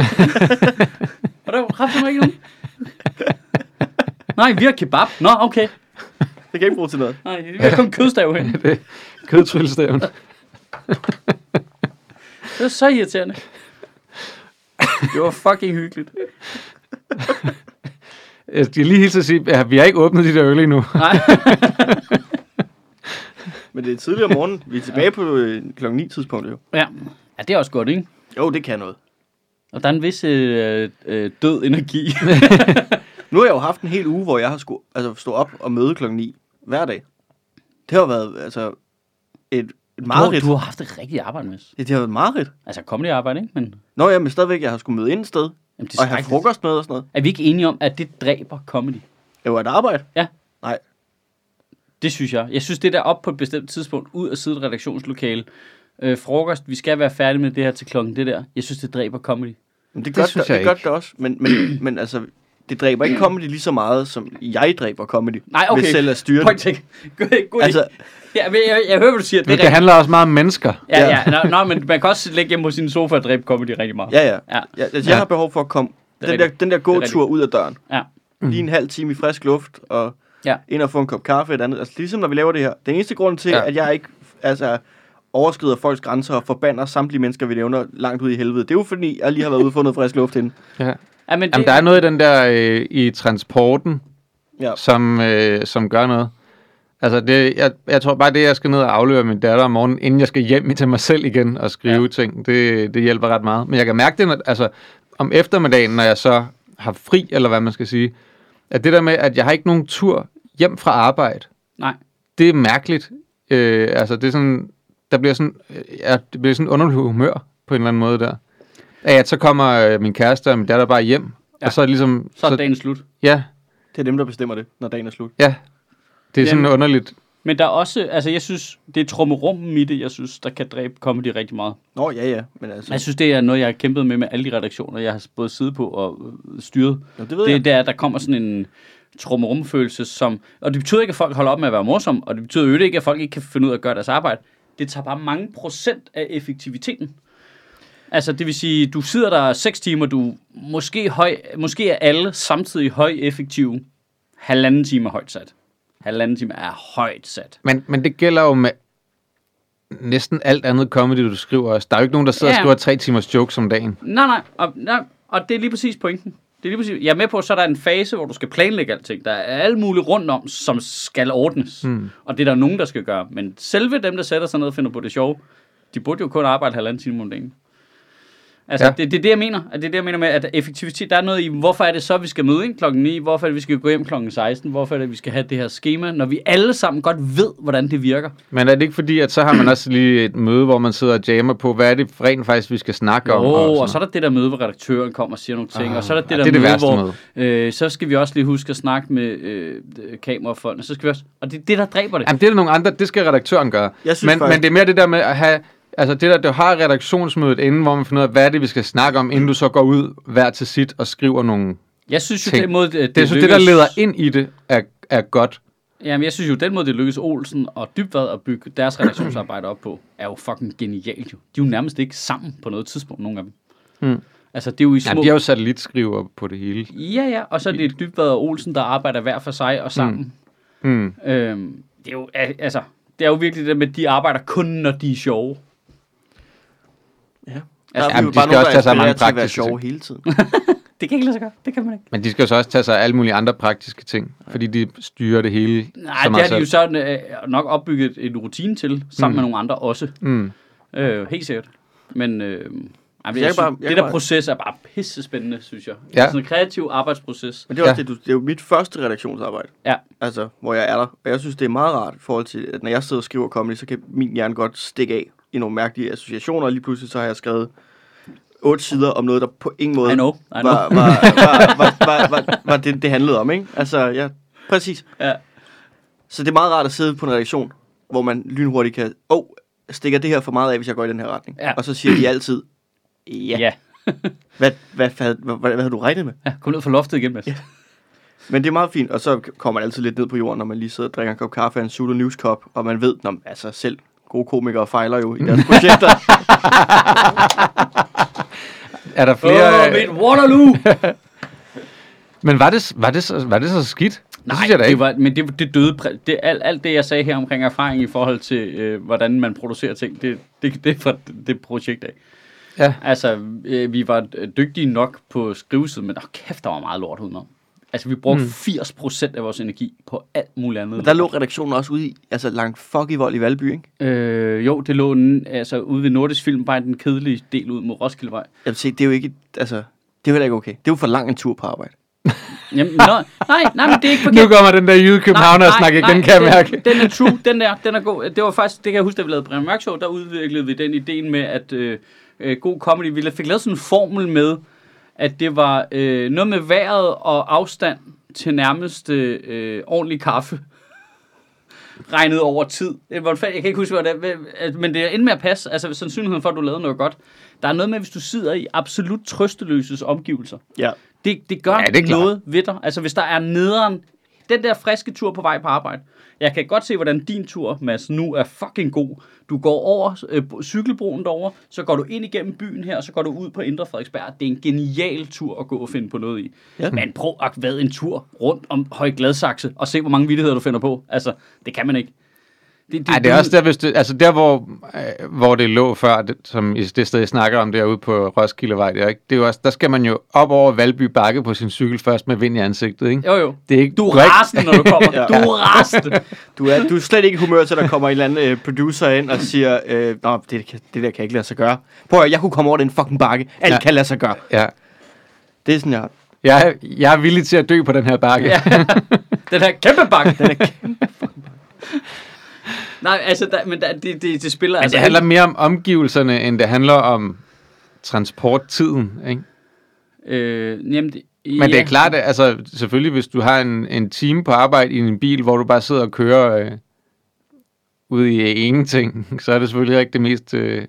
Speaker 2: og der var kraftigt ikke nogen. Nej, vi har kebab. Nå, okay.
Speaker 1: Det kan jeg ikke bruge til noget.
Speaker 2: Nej, vi har kun kødstav hen.
Speaker 3: Kødtryllestaven.
Speaker 2: Det var så irriterende. Det var fucking hyggeligt.
Speaker 3: Jeg skal lige hilse at sige, at vi har ikke åbnet de der øl endnu.
Speaker 2: Nej,
Speaker 1: Men det er tidligere om morgenen. Vi er tilbage på øh, klokken 9 tidspunktet jo.
Speaker 2: ja. ja det er også godt, ikke?
Speaker 1: Jo, det kan noget.
Speaker 2: Og der er en vis øh, øh,
Speaker 1: (laughs)
Speaker 2: død energi.
Speaker 1: Nu har jeg jo haft en hel uge, hvor jeg har skulle altså, stå op og møde klokken 9 hver dag. Det har været altså, et, et
Speaker 2: du,
Speaker 1: mareridt.
Speaker 2: du har haft et rigtigt arbejde, med.
Speaker 1: Ja, det har været et mareridt.
Speaker 2: Altså, kom det arbejde, ikke? Men,
Speaker 1: Nå ja, men stadigvæk, jeg har skulle møde ind et sted,
Speaker 2: jamen, det
Speaker 1: og have
Speaker 2: skrækkeligt.
Speaker 1: frokost med og sådan noget.
Speaker 2: Er vi ikke enige om, at det dræber comedy?
Speaker 1: Det var et arbejde.
Speaker 2: Det synes jeg. Jeg synes, det der op på et bestemt tidspunkt, ud af sidde i et redaktionslokale, øh, frokost, vi skal være færdige med det her til klokken det der. Jeg synes, det dræber comedy.
Speaker 1: Men det,
Speaker 3: Det
Speaker 1: gør det,
Speaker 3: synes
Speaker 1: det,
Speaker 3: jeg
Speaker 1: det gør
Speaker 3: ikke.
Speaker 1: det også, men, men, (clears throat) men altså, det dræber ikke comedy lige så meget, som jeg dræber comedy.
Speaker 2: Nej, okay.
Speaker 1: Ved selv at styre
Speaker 2: Point
Speaker 1: det.
Speaker 2: take. God, god altså,
Speaker 1: Altså-
Speaker 2: ja, men jeg, jeg, hører, hvad du siger. Det
Speaker 3: Men
Speaker 2: er
Speaker 3: det
Speaker 2: rigtigt.
Speaker 3: handler også meget om mennesker.
Speaker 2: Ja, ja. Nå, nå, men man kan også ligge hjemme på sin sofa og dræbe comedy rigtig meget.
Speaker 1: Ja, ja.
Speaker 2: ja.
Speaker 1: ja altså,
Speaker 3: Ja.
Speaker 1: jeg har behov for at komme
Speaker 2: Det er
Speaker 1: den der,
Speaker 2: rigtigt.
Speaker 1: den der
Speaker 2: er
Speaker 1: gåtur ud af døren.
Speaker 2: Ja.
Speaker 1: Lige en halv time i frisk luft, og
Speaker 2: Ja.
Speaker 1: ind og få en kop kaffe og et andet. Altså, ligesom når vi laver det her. Den eneste grund til,
Speaker 3: Ja.
Speaker 1: ja. at jeg ikke altså, overskrider folks grænser og forbander samtlige mennesker, vi nævner langt ud i helvede, det er jo fordi, jeg lige har været ude og fundet frisk luft inden.
Speaker 3: Ja.
Speaker 2: ja men det,
Speaker 3: Jamen, der er noget i den der øh, i transporten,
Speaker 1: Ja.
Speaker 3: som, øh, som gør noget. Altså, det, jeg, jeg tror bare, det, jeg skal ned og afløre min datter om morgenen, inden jeg skal hjem til mig selv igen og skrive
Speaker 2: Ja.
Speaker 3: ja. ting, det, det hjælper ret meget. Men jeg kan mærke det, når, altså, om eftermiddagen, når jeg så har fri, eller hvad man skal sige, at det der med, at jeg har ikke nogen tur hjem fra arbejde,
Speaker 2: Nej.
Speaker 3: det er mærkeligt. Øh, altså, det er sådan, der bliver sådan, øh, ja, det bliver sådan underlig humør på en eller anden måde der. Af at så kommer øh, min kæreste og min datter bare hjem,
Speaker 2: Ja.
Speaker 3: ja. og så er det ligesom,
Speaker 2: Så er dagen slut.
Speaker 3: ja,
Speaker 1: Det er dem, der bestemmer det, når dagen er slut.
Speaker 3: ja, det er sådan
Speaker 2: Jamen.
Speaker 3: underligt.
Speaker 2: Men der er også, altså jeg synes, det er trummerummen i det, jeg synes, der kan dræbe comedy rigtig meget.
Speaker 1: Nå, ja, ja. Men altså,
Speaker 2: Jeg synes, det er noget, jeg har kæmpet med med alle de redaktioner, jeg har både siddet på og øh, styret.
Speaker 1: Nå, det ved
Speaker 2: det,
Speaker 1: jeg.
Speaker 2: det er, at der kommer sådan en trummerumfølelse, som... Og det betyder ikke, at folk holder op med at være morsomme, og det betyder jo ikke, at folk ikke kan finde ud af at gøre deres arbejde. Det tager bare mange procent af effektiviteten. Altså, det vil sige, du sidder der 6 timer, du måske, høj, måske er alle samtidig høj effektive. Halvanden time er højt sat. Halvanden time er højt sat.
Speaker 3: Men, men det gælder jo med næsten alt andet comedy, du skriver også. Der er jo ikke nogen, der sidder
Speaker 2: Ja.
Speaker 3: og skriver tre timers jokes om dagen.
Speaker 2: Nej, nej, og, nej, og det er lige præcis pointen. Det er lige præcis. Jeg er med på, at så er der en fase, hvor du skal planlægge alting. Der er alle mulige rundt om, som skal ordnes. Mm. Og det er der nogen, der skal gøre. Men selve dem, der sætter sig ned og finder på det sjove, de burde jo kun arbejde halvanden time om dagen. Altså, ja.
Speaker 3: Ja.
Speaker 2: det, det, er det, jeg mener. At det er det, jeg mener med, at effektivitet, der er noget i, hvorfor er det så, vi skal møde ind klokken 9? Hvorfor er det, vi skal gå hjem klokken 16? Hvorfor er det, vi skal have det her schema, når vi alle sammen godt ved, hvordan det virker?
Speaker 3: Men er det ikke fordi, at så har man også lige et møde, hvor man sidder og jammer på, hvad er det rent faktisk, vi skal snakke om?
Speaker 2: Åh,
Speaker 3: sådan
Speaker 2: oh, og
Speaker 3: noget?
Speaker 2: så er der det der møde, hvor redaktøren kommer og siger nogle ting,
Speaker 3: Ah,
Speaker 2: og så er der det
Speaker 3: ja,
Speaker 2: der
Speaker 3: det er det
Speaker 2: møde,
Speaker 3: værste
Speaker 2: hvor øh, så skal vi også lige huske at snakke med øh, d- kamerafolkene, så skal vi også, og det er det, der dræber det.
Speaker 3: Jamen, det er der nogle andre, det skal redaktøren gøre.
Speaker 1: Jeg synes
Speaker 3: men,
Speaker 1: faktisk-
Speaker 3: men det er mere det der med at have, altså det der, du har redaktionsmødet inden, hvor man finder ud af, hvad er det, vi skal snakke om, inden du så går ud hver til sit og skriver nogle
Speaker 2: Jeg synes jo,
Speaker 3: ting.
Speaker 2: den måde, øh, det,
Speaker 3: Det, jeg synes, det, der leder ind i det, er, er godt.
Speaker 2: Jamen, jeg synes jo, den måde, det lykkedes Olsen og Dybvad at bygge deres redaktionsarbejde op på, er jo fucking genialt jo. De er jo nærmest ikke sammen på noget tidspunkt, nogle af dem.
Speaker 3: Mm.
Speaker 2: Altså, det er jo i små...
Speaker 3: Jamen, de er jo satellitskriver på det hele.
Speaker 2: Ja, ja, og så er det Dybvad og Olsen, der arbejder hver for
Speaker 3: Hmm.
Speaker 2: sig og sammen.
Speaker 3: Mm.
Speaker 2: Øhm, det er jo, al- altså, det er jo virkelig det der med, at de arbejder kun, når de er sjove.
Speaker 1: Ja. Der
Speaker 2: Altså,
Speaker 1: vi
Speaker 3: jamen,
Speaker 1: jo
Speaker 3: de
Speaker 1: bare
Speaker 3: skal
Speaker 1: nogen, der
Speaker 3: også tage sig af mange
Speaker 1: inspirerer til at være
Speaker 3: praktiske ting.
Speaker 1: sjove hele tiden.
Speaker 2: Det kan ikke lade sig gøre. Det kan man ikke.
Speaker 3: Men de skal jo så også tage sig af alle mulige andre praktiske ting, fordi de styrer det hele
Speaker 2: Nej,
Speaker 3: så
Speaker 2: det
Speaker 3: meget
Speaker 2: har de jo
Speaker 3: selv.
Speaker 2: sådan øh, nok opbygget en rutine til, sammen mm. med nogle andre også.
Speaker 3: Mm.
Speaker 2: Øh, helt sikkert. Men øh, jamen, jeg
Speaker 1: kan
Speaker 2: synes,
Speaker 1: bare- jeg
Speaker 2: det
Speaker 1: kan
Speaker 2: der
Speaker 1: bare-
Speaker 2: proces er bare pisse spændende, synes jeg. Ja.
Speaker 3: Ja.
Speaker 2: Sådan en kreativ arbejdsproces.
Speaker 1: Men det er, også
Speaker 3: Ja.
Speaker 1: det, du, det er jo mit første redaktionsarbejde.
Speaker 2: Ja.
Speaker 1: Altså, hvor jeg er der. Og jeg synes, det er meget rart i forhold til, at når jeg sidder og skriver comedy, så kan min hjerne godt stikke af i nogle mærkelige associationer, og lige pludselig så har jeg skrevet otte sider om noget, der på ingen måde
Speaker 2: I know, I
Speaker 1: var,
Speaker 2: know. (laughs)
Speaker 1: var, var, var, var, var, var det, det handlede om, ikke? Altså, ja, præcis.
Speaker 2: Ja.
Speaker 1: Så det er meget rart at sidde på en redaktion, hvor man lynhurtigt kan, åh, oh, stikker det her for meget af, hvis jeg går i den her retning?
Speaker 2: Ja.
Speaker 1: Og så siger de altid, ja,
Speaker 2: Ja. ja.
Speaker 1: Hvad, hvad, hvad, hvad, hvad havde du regnet med?
Speaker 2: ja. Kom ned fra loftet igen, Mads. Ja.
Speaker 1: Men det er meget fint, og så kommer man altid lidt ned på jorden, når man lige sidder og drikker en kop kaffe af en Zulu News Cup, og man ved, når altså selv gode komikere fejler jo i (laughs) deres projekter.
Speaker 3: Er der flere...
Speaker 2: Åh,
Speaker 3: øh,
Speaker 2: mit Waterloo!
Speaker 3: Men var det, var, det så, var det så skidt? det synes jeg da
Speaker 2: det
Speaker 3: ikke.
Speaker 2: var, men det, det døde, præ- det, alt, alt det jeg sagde her omkring erfaring i forhold til, øh, hvordan man producerer ting, det, det, det er fra det, det projekt af.
Speaker 3: Ja.
Speaker 2: Altså, øh, vi var øh, dygtige nok på skrivesiden, men oh, kæft, der var meget lort udenom. Altså, vi brugte mm. 80% af vores energi på alt muligt andet.
Speaker 1: Hmm. Men der lå redaktionen også ude i, altså langt fuck i vold i Valby, ikke?
Speaker 2: Øh, jo, det lå den, altså, ude ved Nordisk Film, bare den kedelige del ud mod Roskildevej.
Speaker 1: Jamen se, det er jo ikke, altså, det er jo heller ikke okay. Det er jo for lang en tur på arbejde.
Speaker 2: Jamen, nå, nej, nej, men
Speaker 1: (laughs)
Speaker 2: det er ikke forkert.
Speaker 3: Nu kommer den der jyde københavner og snakke igen, kan jeg
Speaker 2: den,
Speaker 3: mærke.
Speaker 2: Den er true, den der, den er god. Det var faktisk, det kan jeg huske, da vi lavede Brian Mørk Show, der udviklede vi den idé med, at øh, øh, god comedy, vi la- fik lavet sådan en formel med, at det var øh, noget med vejret og afstand til nærmest øh, ordentlig kaffe (laughs) regnet over tid. Øh, Hvordan fanden, jeg kan ikke huske, hvad det er, men- at- men det er endnu med at passe. Altså, sandsynligheden for, at du lavede noget godt. Der er noget med, hvis du sidder i absolut trøsteløses omgivelser.
Speaker 1: Ja.
Speaker 2: Det, det gør
Speaker 3: Ja, det er klart.
Speaker 2: noget ved dig. Altså, hvis der er nederen, den der friske tur på vej på arbejde. Jeg kan godt se, hvordan din tur, Mads, nu er fucking god. Du går over øh, cykelbroen derover, så går du ind igennem byen her, og så går du ud på Indre Frederiksberg. Det er en genial tur at gå og finde på noget i.
Speaker 1: Ja.
Speaker 2: Men prøv at være en tur rundt om Høj Gladsaxe, og se, hvor mange vittigheder du finder på. Altså, det kan man ikke. det,
Speaker 3: Ej, det er også der, hvis det, altså der hvor, øh, hvor det lå før, det, som i det sted, jeg snakker om derude på Roskildevej, der, ikke? Det er jo også, der skal man jo op over Valby Bakke på sin cykel først med vind i ansigtet, ikke?
Speaker 2: Jo, jo.
Speaker 3: Det er ikke
Speaker 2: Du er
Speaker 3: brik.
Speaker 2: rasende, når du
Speaker 3: (laughs)
Speaker 2: kommer.
Speaker 1: Ja.
Speaker 2: Du er rasende.
Speaker 1: Du er, du er slet ikke i humør til, at der kommer en eller anden øh, producer ind og siger, øh, Nå, det, kan- det der kan ikke lade sig gøre. Prøv at høre, jeg kunne komme over den fucking bakke. Alt
Speaker 3: Ja.
Speaker 1: ja. kan lade sig gøre.
Speaker 3: Ja.
Speaker 1: Det er sådan, jeg
Speaker 3: Jeg, er- jeg er villig til at dø på den her bakke.
Speaker 2: Ja. Den her kæmpe bakke. Den er kæmpe Nej, altså, der, men der, det, det, det spiller...
Speaker 3: Men
Speaker 2: altså,
Speaker 3: det handler mere om omgivelserne, end det handler om transporttiden, ikke?
Speaker 2: Øh, jamen, det,
Speaker 3: Men det er klart, at altså, selvfølgelig, hvis du har en, en time på arbejde i en bil, hvor du bare sidder og kører øh, ud i ingenting, (laughs) så er det selvfølgelig ikke det mest øh,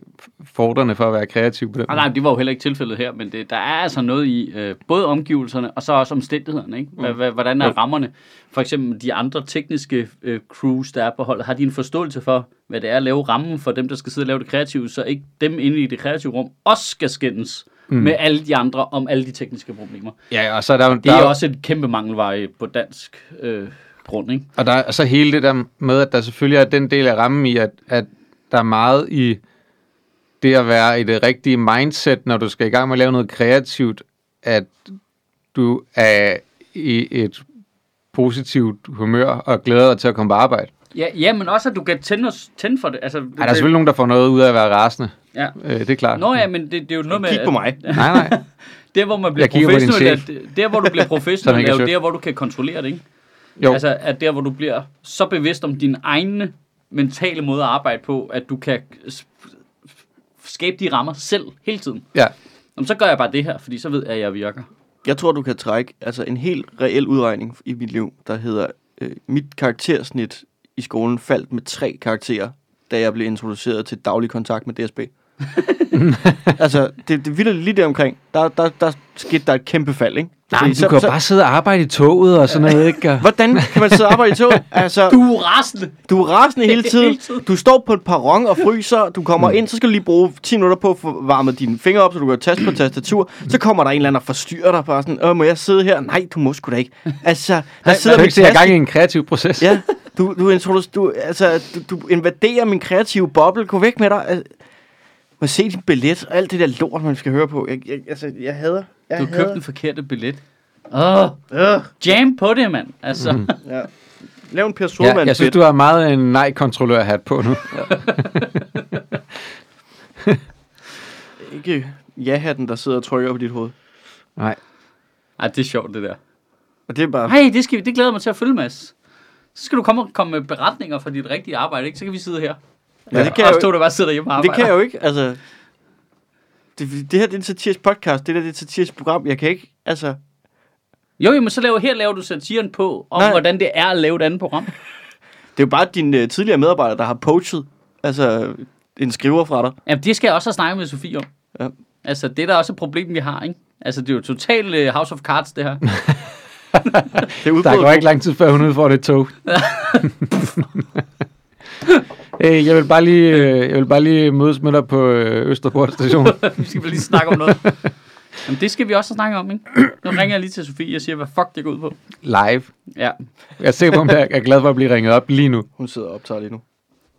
Speaker 3: fordrende for at være kreativ på den
Speaker 2: Ah, nej, det var jo heller ikke tilfældet her, men det, der er altså noget i øh, både omgivelserne og så også omstændighederne. Ikke?
Speaker 3: Mm.
Speaker 2: Hva, hva, hvordan er rammerne? For eksempel de andre tekniske øh, crews, der er på holdet, har de en forståelse for, hvad det er at lave rammen for dem, der skal sidde og lave det kreative, så ikke dem inde i det kreative rum også skal skændes mm. med alle de andre om alle de tekniske problemer.
Speaker 3: Ja, og så er der, jo-
Speaker 2: Det
Speaker 3: der,
Speaker 2: er
Speaker 3: er-
Speaker 2: også et kæmpe mangelvare på dansk øh, grund, ikke?
Speaker 3: Og, der, er- og så hele det der med, at der selvfølgelig er den del af rammen i, at, at der er meget i det at være i det rigtige mindset, når du skal i gang med at lave noget kreativt, at du er i et positivt humør og glæder dig til at komme på arbejde.
Speaker 2: Ja, ja men også, at du kan tænde, os, tænde for det. Altså, det
Speaker 3: Ej, der er selvfølgelig nogen, der får noget ud af at være rasende.
Speaker 2: ja.
Speaker 3: Øh, det er klart.
Speaker 2: Nå ja, men det, det er jo noget med...
Speaker 1: Kig på mig.
Speaker 2: At,
Speaker 3: Nej, nej.
Speaker 2: det, hvor man bliver
Speaker 3: Jeg kigger på din
Speaker 2: professionel, er, det- der, hvor du
Speaker 3: (laughs)
Speaker 2: bliver
Speaker 3: Sådan
Speaker 2: professionel,
Speaker 3: ikke
Speaker 2: er jo
Speaker 3: sødt.
Speaker 2: der, hvor du kan kontrollere det, ikke?
Speaker 3: Jo, altså,
Speaker 2: Altså, at der, hvor du bliver så bevidst om din egne mentale måde at arbejde på, at du kan s- skabe de rammer selv hele tiden.
Speaker 1: (laughs)
Speaker 3: ja.
Speaker 2: Jamen, så gør jeg bare det her, fordi så ved jeg, at jeg virker.
Speaker 1: Jeg tror, du kan trække altså en helt reel udregning i mit liv, der hedder, øh, mit karaktersnit i skolen faldt med tre karakterer, da jeg blev introduceret til daglig kontakt med DSB. (laughs) altså, det, det vildt lige der omkring. Der, der, der skete der et kæmpe fald, ikke?
Speaker 3: Nej,
Speaker 1: Fordi
Speaker 3: men du kan jo bare sidde og arbejde i toget og sådan noget, ikke? Og-
Speaker 1: Hvordan kan man sidde og arbejde i
Speaker 3: (laughs)
Speaker 1: toget? Altså,
Speaker 2: Du er rasende!
Speaker 1: Du er rasende hele
Speaker 2: Hele
Speaker 1: tiden.
Speaker 2: tiden.
Speaker 1: Du står på et perron og fryser. Du kommer
Speaker 3: Mm.
Speaker 1: ind, så skal du lige bruge 10 minutter på at få varmet dine fingre op, så du kan taste på et tastatur. Så kommer der en eller anden og forstyrrer dig bare sådan, Åh, må jeg sidde her? Nej, du må sgu da ikke. Altså, der
Speaker 3: Så
Speaker 1: sidder
Speaker 3: kan du
Speaker 1: min
Speaker 3: ikke se, at jeg er i
Speaker 1: taske.
Speaker 3: gang i en kreativ proces.
Speaker 1: Ja, du, du, introdu- du, altså, du, du invaderer min kreative boble. Gå væk med dig. Altså, må jeg se din billet og alt det der lort, man skal høre på. Jeg, jeg, altså, jeg hader. Jeg
Speaker 2: Du har købt
Speaker 1: hader.
Speaker 2: den forkerte billet. Åh,
Speaker 1: Øh,
Speaker 2: jam på det, mand! Altså...
Speaker 3: Mhm.
Speaker 1: ja. Lav en Per
Speaker 3: Ja,
Speaker 1: Surman
Speaker 3: jeg synes, du har meget en nej-kontrollør-hat
Speaker 1: (laughs)
Speaker 3: på nu.
Speaker 1: Ikke ja-hatten, der sidder og trykker på dit hoved.
Speaker 3: Nej.
Speaker 2: Ej, det er sjovt, det der.
Speaker 1: Og det er bare...
Speaker 2: Nej, det, skal, vi- det glæder jeg mig til at følge, Mads. Så skal du komme, og komme med beretninger fra dit rigtige arbejde, ikke? Så kan vi sidde her.
Speaker 1: Ja, det kan jeg
Speaker 2: Også
Speaker 1: jo
Speaker 2: to, der bare sidder hjemme og
Speaker 1: Det
Speaker 2: arbejder.
Speaker 1: kan jeg jo ikke, altså... Det, det her det er en satirisk podcast, det der det er et satirisk program, jeg kan ikke, altså...
Speaker 2: Jo, jo, men så laver, her laver du satiren på, om Nej.
Speaker 1: Nej.
Speaker 2: hvordan det er at lave et andet program.
Speaker 1: Det er jo bare din øh, tidligere medarbejder, der har poachet, altså en skriver fra dig.
Speaker 2: Jamen, det skal jeg også have snakket med Sofie om.
Speaker 1: Ja.
Speaker 2: Altså, det er da også et problem, vi har, ikke? Altså, det er jo totalt uh, House of Cards, det her. (laughs)
Speaker 1: Det er
Speaker 3: Der
Speaker 1: udbrudt.
Speaker 3: går ikke lang tid, før hun udfordrer det
Speaker 2: (laughs)
Speaker 3: tog. hey, jeg, vil bare lige, øh, jeg vil bare lige mødes med dig på øh,
Speaker 2: (laughs)
Speaker 3: Østerport station.
Speaker 2: vi skal bare lige snakke om noget. Jamen, det skal vi også have snakket om, ikke? Nu ringer jeg lige til Sofie og siger, hvad fuck det går ud på.
Speaker 3: Live.
Speaker 2: Ja.
Speaker 3: Jeg er sikker på, at jeg er glad for at blive ringet op lige nu.
Speaker 1: Hun sidder og optager lige nu.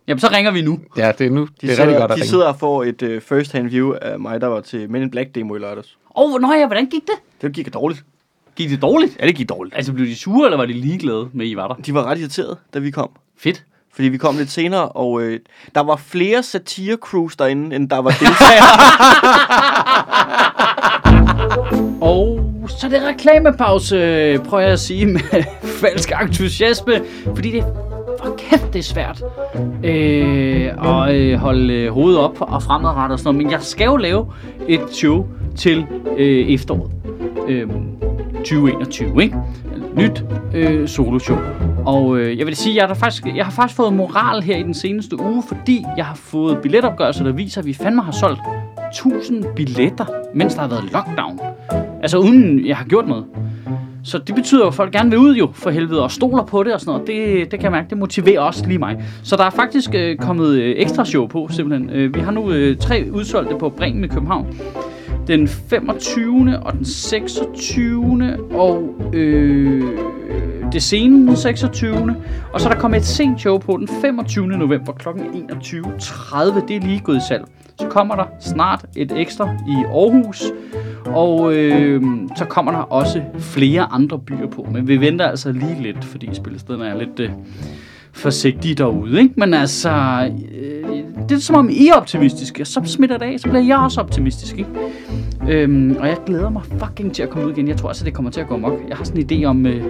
Speaker 2: Jamen, så ringer vi nu.
Speaker 3: Ja, det er nu.
Speaker 1: De
Speaker 3: det er
Speaker 1: sidder,
Speaker 3: rigtig godt at
Speaker 1: de
Speaker 3: ringe.
Speaker 1: sidder og får et øh, first-hand view af mig, der var til Men in Black demo i lørdags.
Speaker 2: Åh, oh, nå ja, hvordan gik det?
Speaker 1: Det gik dårligt.
Speaker 2: Gik det dårligt?
Speaker 1: Ja, det gik dårligt.
Speaker 2: Altså, blev de sure, eller var de ligeglade med, at I var der?
Speaker 1: De var ret irriterede, da vi kom.
Speaker 2: Fedt.
Speaker 1: Fordi vi kom lidt senere, og øh, der var flere satire-crews derinde, end der (laughs) var deltagere.
Speaker 2: Og så er det reklamepause, prøver jeg at sige med (laughs) falsk entusiasme, fordi det for kæft, det er svært øh, at øh, holde øh, hovedet op og fremadrettet og sådan noget. Men jeg skal jo lave et show til øh, efteråret øh, 2021, ikke? Nyt øh, soloshow. Og øh, jeg vil sige, jeg har, da faktisk, jeg har faktisk fået moral her i den seneste uge, fordi jeg har fået billetopgørelser, der viser, at vi fandme har solgt 1000 billetter, mens der har været lockdown. Altså uden jeg har gjort noget. Så det betyder jo, at folk gerne vil ud jo, for helvede, og stoler på det og sådan noget. Det, det kan jeg mærke, det motiverer også lige mig. Så der er faktisk øh, kommet øh, ekstra show på, simpelthen. Øh, vi har nu øh, tre udsolgte på Bremen i København. Den 25. og den 26. og øh, det sene den 26. Og så er der kommet et sent show på den 25. november kl. 21.30. Det er lige gået i salg. Så kommer der snart et ekstra i Aarhus. Og øh, så kommer der også flere andre byer på. Men vi venter altså lige lidt, fordi spillestederne er lidt øh, forsigtige derude. Ikke? Men altså, øh, det er som om I er optimistiske, og så smitter det af, så bliver jeg også optimistisk. Ikke? Øhm, og jeg glæder mig fucking til at komme ud igen. Jeg tror også, at det kommer til at gå mok. Jeg har sådan en idé om, øh,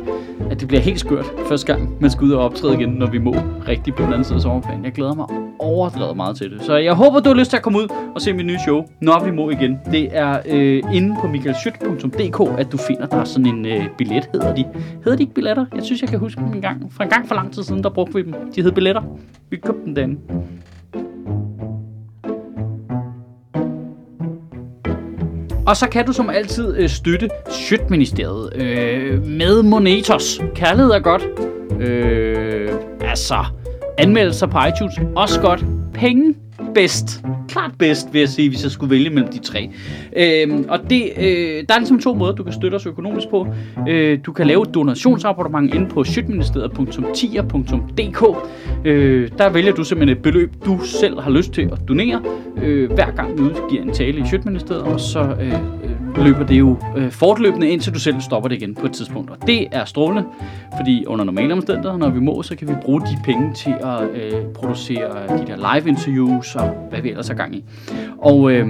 Speaker 2: at det bliver helt skørt første gang, man skal ud og optræde igen, når vi må rigtig på den anden side af sommerferien. Jeg glæder mig overdrevet meget til det. Så jeg håber, du har lyst til at komme ud og se mit nye show, når vi må igen. Det er øh, inde på michaelschyt.dk, at du finder, der er sådan en øh, billet, hedder de. Hedder de ikke billetter? Jeg synes, jeg kan huske dem en gang. Fra en gang for lang tid siden, der brugte vi dem. De hed billetter. Vi købte dem derinde. Og så kan du som altid øh, støtte Sjøtministeriet øh, med Monetos. Kærlighed er godt. Øh, altså, anmeldelser på iTunes også godt. Penge bedst. Klart bedst, vil jeg sige, hvis jeg skulle vælge mellem de tre. Øh, og det, øh, der er ligesom to måder, du kan støtte os økonomisk på. Øh, du kan lave et donationsabonnement inde på sjøtministeriet.tier.dk. Øh, der vælger du simpelthen et beløb, du selv har lyst til at donere, øh, hver gang vi udgiver en tale i Sjøtministeriet, og så øh, øh, løber det jo øh, fortløbende, indtil du selv stopper det igen på et tidspunkt. Og det er strålende, fordi under normale omstændigheder, når vi må, så kan vi bruge de penge til at øh, producere de der live interviews og hvad vi ellers har gang i. Og øh,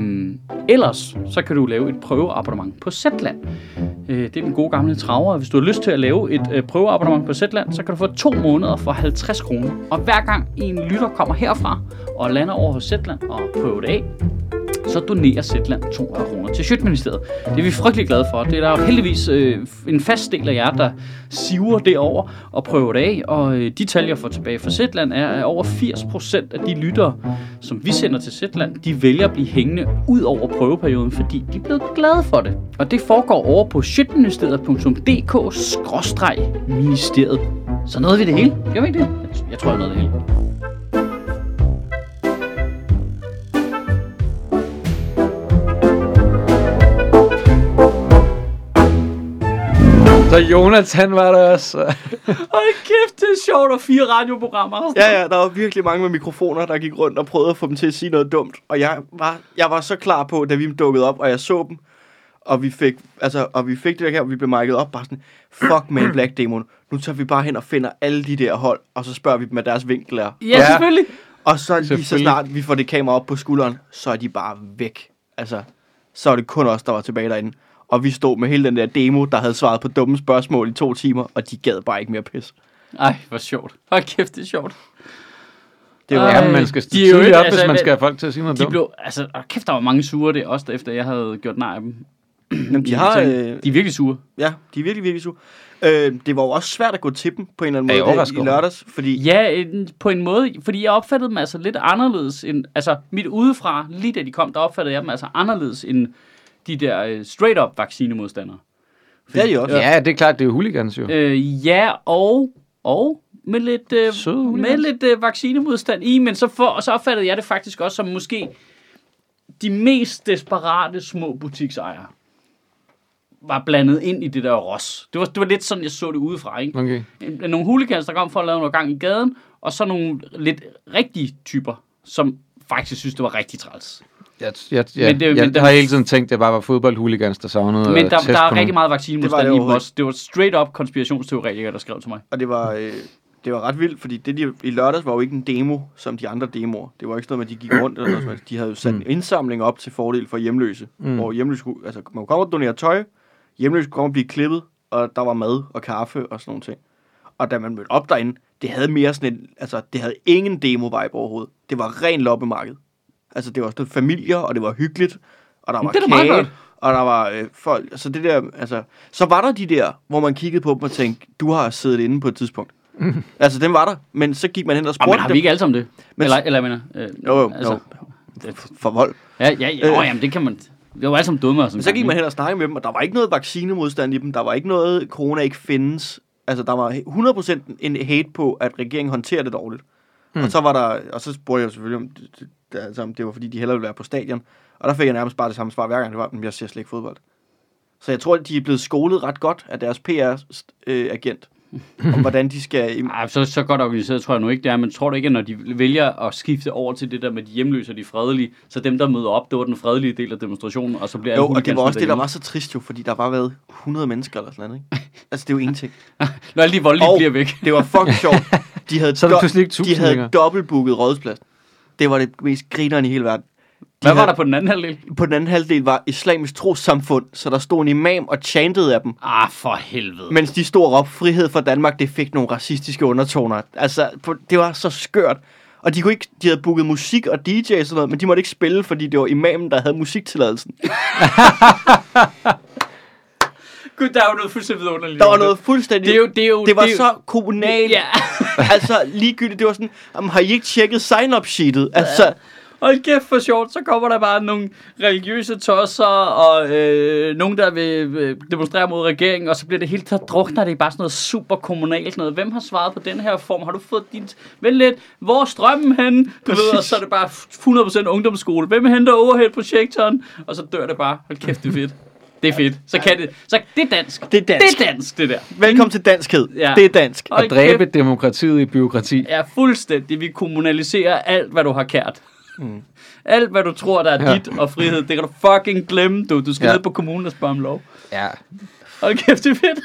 Speaker 2: ellers, så kan du lave et prøveabonnement på Zetland. Øh, det er den gode gamle traver. Hvis du har lyst til at lave et øh, prøveabonnement på Zetland, så kan du få to måneder for 50 kroner. Og hver gang en lytter kommer herfra og lander over hos Zetland og prøver det af, så donerer Zetland 200 kroner til Sjøtministeriet. Det er vi frygtelig glade for. Det er der jo heldigvis øh, en fast del af jer, der siver derover og prøver det af. Og øh, de tal, jeg får tilbage fra Zetland, er, at over 80% af de lyttere, som vi sender til Zetland, de vælger at blive hængende ud over prøveperioden, fordi de er blevet glade for det. Og det foregår over på sjøtministeriet.dk-ministeriet. Så nåede vi det hele. Gør vi ikke det? Jeg- Jeg tror, jeg nåede det hele.
Speaker 3: Så Jonathan var der også.
Speaker 2: Hold kæft, det er sjovt, og fire radioprogrammer.
Speaker 1: ja, ja, der var virkelig mange med mikrofoner, der gik rundt og prøvede at få dem til at sige noget dumt. Og jeg var, jeg var så klar på, da vi dukkede op, og jeg så dem, og vi fik, altså, og vi fik det der her, og vi blev markedet op, bare sådan, fuck man Black Demon, nu tager vi bare hen og finder alle de der hold, og så spørger vi dem, hvad deres vinkel er.
Speaker 2: Ja,
Speaker 3: Ja.
Speaker 2: selvfølgelig.
Speaker 1: Og så lige så
Speaker 3: Selvfølgelig.
Speaker 1: snart vi får det kamera op på skulderen, så er de bare væk. Altså, så er det kun os, der var tilbage derinde. Og vi stod med hele den der demo, der havde svaret på dumme spørgsmål i to timer, og de gad bare ikke mere pis.
Speaker 2: Ej, hvor sjovt. Hold kæft, det er sjovt.
Speaker 1: Det var,
Speaker 2: Ej.
Speaker 3: Ja, man skal
Speaker 2: de er jo
Speaker 3: stå tidligt
Speaker 2: ikke-
Speaker 3: op,
Speaker 2: altså,
Speaker 3: hvis man
Speaker 2: det-
Speaker 3: skal have folk til at sige noget
Speaker 2: De
Speaker 3: dumt.
Speaker 2: blev, altså, og kæft, der var mange sure det, også efter jeg havde gjort nej af dem.
Speaker 1: jamen, de, har, øh,
Speaker 2: De er virkelig sure.
Speaker 1: ja, de er virkelig, virkelig sure. Øh, det var jo også svært at gå til dem på en eller
Speaker 3: Er I
Speaker 1: anden måde øh,
Speaker 3: overrasket
Speaker 1: i
Speaker 3: over
Speaker 1: lørdags, fordi
Speaker 2: Ja, en, på en måde, fordi jeg opfattede dem altså lidt anderledes end, altså mit udefra, lige da de kom, der opfattede jeg dem altså anderledes end de der øh, straight-up vaccinemodstandere.
Speaker 1: det er de også.
Speaker 3: Ja, det er klart, det er jo hooligans jo.
Speaker 2: Øh, ja, og, og med lidt, øh,
Speaker 3: Søde
Speaker 2: med
Speaker 3: hooligans.
Speaker 2: lidt øh, vaccinemodstand i, men så, for, og så opfattede jeg det faktisk også som måske de mest desperate små butiksejere var blandet ind i det der ros. Det var, det var lidt sådan, jeg så det udefra, ikke?
Speaker 3: Okay.
Speaker 2: En- nogle hooligans, der kom for at lave noget gang i gaden, og så nogle lidt rigtige typer, som faktisk synes, det var rigtig træls.
Speaker 3: Jeg, jeg, jeg,
Speaker 2: Men
Speaker 3: men
Speaker 2: det-
Speaker 3: det, jeg
Speaker 2: men
Speaker 3: men
Speaker 2: der-
Speaker 3: har hele tiden tænkt, at det bare var fodboldhooligans, der savnede
Speaker 2: Men
Speaker 3: at
Speaker 2: der,
Speaker 3: tæske
Speaker 2: der er
Speaker 3: på
Speaker 2: rigtig
Speaker 3: nogen.
Speaker 2: meget vaccinemodstand
Speaker 1: Det var
Speaker 2: i
Speaker 1: det
Speaker 2: dem også. Det var straight up konspirationsteoretikere, der skrev til mig.
Speaker 1: Og det var, øh, det var ret vildt, fordi det de, i lørdags var jo ikke en demo, som de andre demoer. Det var ikke sådan noget med, at de gik rundt. Eller noget, som helst. de havde jo sat en indsamling op til fordel for hjemløse. Mm. Hvor hjemløse, kunne- altså, man kunne komme og donere tøj, hjemløse kunne komme og blive klippet, og der var mad og kaffe og sådan nogle ting. Og da man mødte op derinde, det havde mere sådan en, altså, det havde ingen demo-vibe overhovedet. Det var ren loppemarked. Altså, det var sådan noget familier, og det var hyggeligt, og der var
Speaker 2: det er da meget
Speaker 1: kage,
Speaker 2: godt.
Speaker 1: og der var øh, folk. Så det der, altså, så var der de der, hvor man kiggede på dem og tænkte, du har siddet inde på et
Speaker 2: (laughs)
Speaker 1: tidspunkt. altså, den var der, men så gik man hen og
Speaker 2: Nå,
Speaker 1: spurgte
Speaker 2: Ah, men har vi ikke alle sammen det?
Speaker 1: Men-
Speaker 2: eller, eller jeg mener... Øh,
Speaker 1: Jo, jo, altså, jo. For vold.
Speaker 2: Ja, ja, ja, øh.
Speaker 1: Øh.
Speaker 2: jamen, det kan man... Vi var jo alle sammen dumme.
Speaker 1: Men så gik man hen og snakkede med dem, og der var ikke noget vaccinemodstand i dem. Der var ikke noget, corona ikke findes. Altså, der var 100% en hate på, at regeringen håndterer det dårligt. Mm. Og så var der, og så spurgte jeg jo selvfølgelig, om det, det, det, altså, om det var, fordi de hellere ville være på stadion. Og der fik jeg nærmest bare det samme svar hver gang, det var, at jeg ser slet ikke fodbold. Så jeg tror, at de er blevet skolet ret godt af deres PR-agent, om hvordan de skal...
Speaker 2: Ej, så, så godt organiseret tror jeg nu ikke, det er. Men tror du ikke, at når de vælger at skifte over til det der med de hjemløse og de fredelige, så dem, der møder op, det var den fredelige del af demonstrationen, og så bliver alle
Speaker 1: Jo, og det var
Speaker 2: huligansene
Speaker 1: også det, der
Speaker 2: derhjemme.
Speaker 1: var så trist jo, fordi der var været 100 mennesker eller sådan noget, ikke? Altså, det er jo ingenting.
Speaker 2: Når alle de voldelige
Speaker 1: Og
Speaker 2: bliver væk.
Speaker 1: det var
Speaker 2: (laughs)
Speaker 1: fucking sjovt. De havde,
Speaker 3: Så er der
Speaker 1: do-
Speaker 3: pludselig ikke tusind
Speaker 1: de havde
Speaker 3: længere.
Speaker 1: dobbeltbooket rådspladsen. Det var det mest grineren i hele verden. De
Speaker 2: Hvad var
Speaker 1: havde,
Speaker 2: der på den anden halvdel?
Speaker 1: På den anden halvdel var islamisk trossamfund, så der stod en imam og chantede af dem,
Speaker 2: Ah, for helvede.
Speaker 1: mens de stod og råbte, frihed for Danmark, det fik nogle racistiske undertoner. Altså, på- det var så skørt. Og de, kunne ikke, de havde booket musik og DJ og sådan noget, men de måtte ikke spille, fordi det var imamen, der havde musiktilladelsen.
Speaker 2: Gud, der er jo noget fuldstændig vidunderligt.
Speaker 1: Der var noget fuldstændig...
Speaker 2: Det er jo... Det, er jo,
Speaker 1: det var
Speaker 2: er jo-
Speaker 1: så kommunalt.
Speaker 2: Ja,
Speaker 1: altså, ligegyldigt. Det var sådan, jamen, har I ikke tjekket sign-up-sheetet? Altså,
Speaker 2: hold kæft for sjovt, så kommer der bare nogle religiøse tosser, og øh, nogen, der vil øh, demonstrere mod regeringen, og så bliver det hele taget drukner, det er bare sådan noget super kommunalt noget. Hvem har svaret på den her form? Har du fået din... Vent lidt, hvor er strømmen henne? Du ved, og så er det bare 100% ungdomsskole. Hvem henter overhead-projektoren? Og så dør det bare. Hold kæft, det er fedt. Det er fedt. Så kan det. Så det er dansk.
Speaker 1: Det er dansk.
Speaker 2: Det er dansk, det der.
Speaker 1: Velkommen til danskhed.
Speaker 2: Ja.
Speaker 1: Ja. Det er dansk.
Speaker 2: Hold
Speaker 3: At dræbe demokratiet i byråkrati.
Speaker 2: Ja, fuldstændig. Vi kommunaliserer alt, hvad du har kært. Mm. (laughs) Alt, hvad du tror, der er ja.
Speaker 3: Ja.
Speaker 2: dit og frihed, det kan du fucking glemme, du. Du skal ja.
Speaker 3: Ja.
Speaker 2: ned på kommunen og spørge om lov.
Speaker 3: Ja.
Speaker 2: Hold kæft, det er fedt.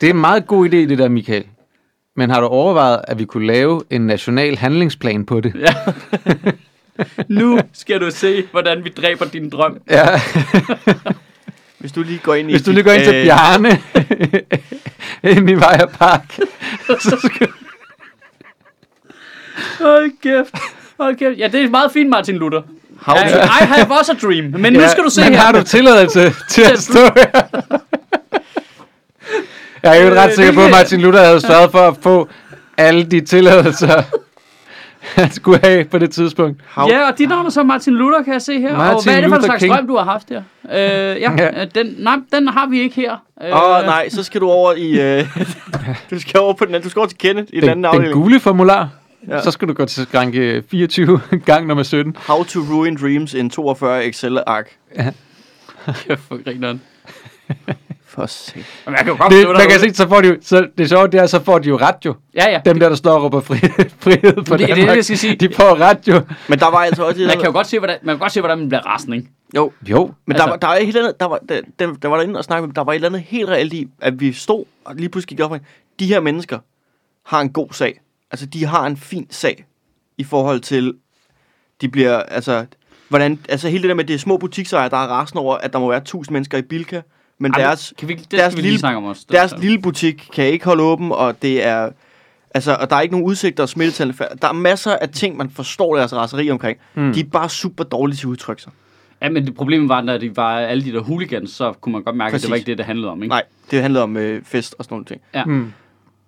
Speaker 3: Det er en meget god idé, det der, Michael. Men har du overvejet, at vi kunne lave en national handlingsplan på det?
Speaker 2: Ja. (laughs) nu skal du se, hvordan vi dræber din drøm. (laughs)
Speaker 3: Ja,
Speaker 1: Hvis du lige går ind i...
Speaker 3: (laughs) hvis du
Speaker 1: dit,
Speaker 3: lige går ind til
Speaker 1: øh,
Speaker 3: Bjarne (laughs) i Mivaja Park, så skal
Speaker 2: Hold kæft. Hold kæft. Ja, det er meget fint, Martin Luther.
Speaker 1: How
Speaker 2: I,
Speaker 1: to,
Speaker 2: I have også a dream, men nu skal du se
Speaker 3: men
Speaker 2: her.
Speaker 3: har du tilladelse til at stå her? Jeg er jo
Speaker 2: Øh,
Speaker 3: ret sikker
Speaker 2: det
Speaker 3: på, at
Speaker 2: kan-
Speaker 3: Martin Luther havde sørget for at få alle de tilladelser, han skulle have på det tidspunkt.
Speaker 1: how,
Speaker 2: Ja, og dit navn er så Martin Luther, kan jeg se her. og
Speaker 3: Martin
Speaker 2: hvad er det for en
Speaker 3: Luther
Speaker 2: slags
Speaker 3: King.
Speaker 2: drøm, du har haft her? Øh, ja,
Speaker 3: Ja.
Speaker 2: øh, Den, nej, den har vi ikke her. Øh,
Speaker 1: Åh,
Speaker 2: (laughs)
Speaker 1: oh, nej, så skal du over i...
Speaker 3: (laughs)
Speaker 1: Øh, du skal over på den anden... Du skal over til Kenneth i den,
Speaker 3: Den,
Speaker 1: anden
Speaker 3: den
Speaker 1: afdeling.
Speaker 3: gule formular,
Speaker 1: Ja.
Speaker 3: så skal du gå til skranke 24, (laughs) gang nummer 17.
Speaker 1: How to ruin dreams in 42 Excel-ark.
Speaker 2: Kæft, for grineren.
Speaker 1: For se.
Speaker 2: Jamen, jeg kan jo godt
Speaker 3: Det,
Speaker 2: forstå
Speaker 3: man
Speaker 2: dig,
Speaker 3: kan
Speaker 2: Ole.
Speaker 3: se, så får de jo, så det sjove, det er, så får de jo ret jo.
Speaker 2: Ja, ja.
Speaker 3: Dem der, der står og råber frihed, (laughs) frihed for
Speaker 2: det er det, jeg skal sige.
Speaker 3: de får ret jo.
Speaker 1: Men der var altså også...
Speaker 2: Man kan jo godt se, hvordan man, kan godt se, hvordan man bliver rasende, ikke?
Speaker 1: Jo,
Speaker 3: Jo,
Speaker 1: men der,
Speaker 2: Altså-
Speaker 1: var, der, er et eller andet, der, var, der, der, der var derinde og snakke med, dem, der var et eller andet helt reelt i, at vi stod, og lige pludselig gik det op, for en, de her mennesker har en god sag. Altså, de har en fin sag i forhold til, de bliver, altså, hvordan, altså hele det der med, det er små butiksejere, der er rasende over, at der må være 1000 mennesker i Bilka, men
Speaker 2: Ej, men
Speaker 1: deres,
Speaker 2: kan vi, det
Speaker 1: deres
Speaker 2: skal vi lige
Speaker 1: lille-
Speaker 2: snakke om også.
Speaker 1: deres
Speaker 2: Det-
Speaker 1: lille butik kan ikke holde åben, og det er... Altså, og der er ikke nogen udsigter og smittetallene. fa- Der er masser af ting, man forstår deres raseri omkring. Mm. De er bare super dårlige til at udtrykke sig.
Speaker 2: Ja, men det problemet var, når de var alle de der hooligans, så kunne man godt mærke, at det
Speaker 1: Præcis.
Speaker 2: var ikke det, det handlede om, ikke?
Speaker 1: Nej, det handlede om øh, fest og sådan nogle ting.
Speaker 2: Ja.
Speaker 3: Mm.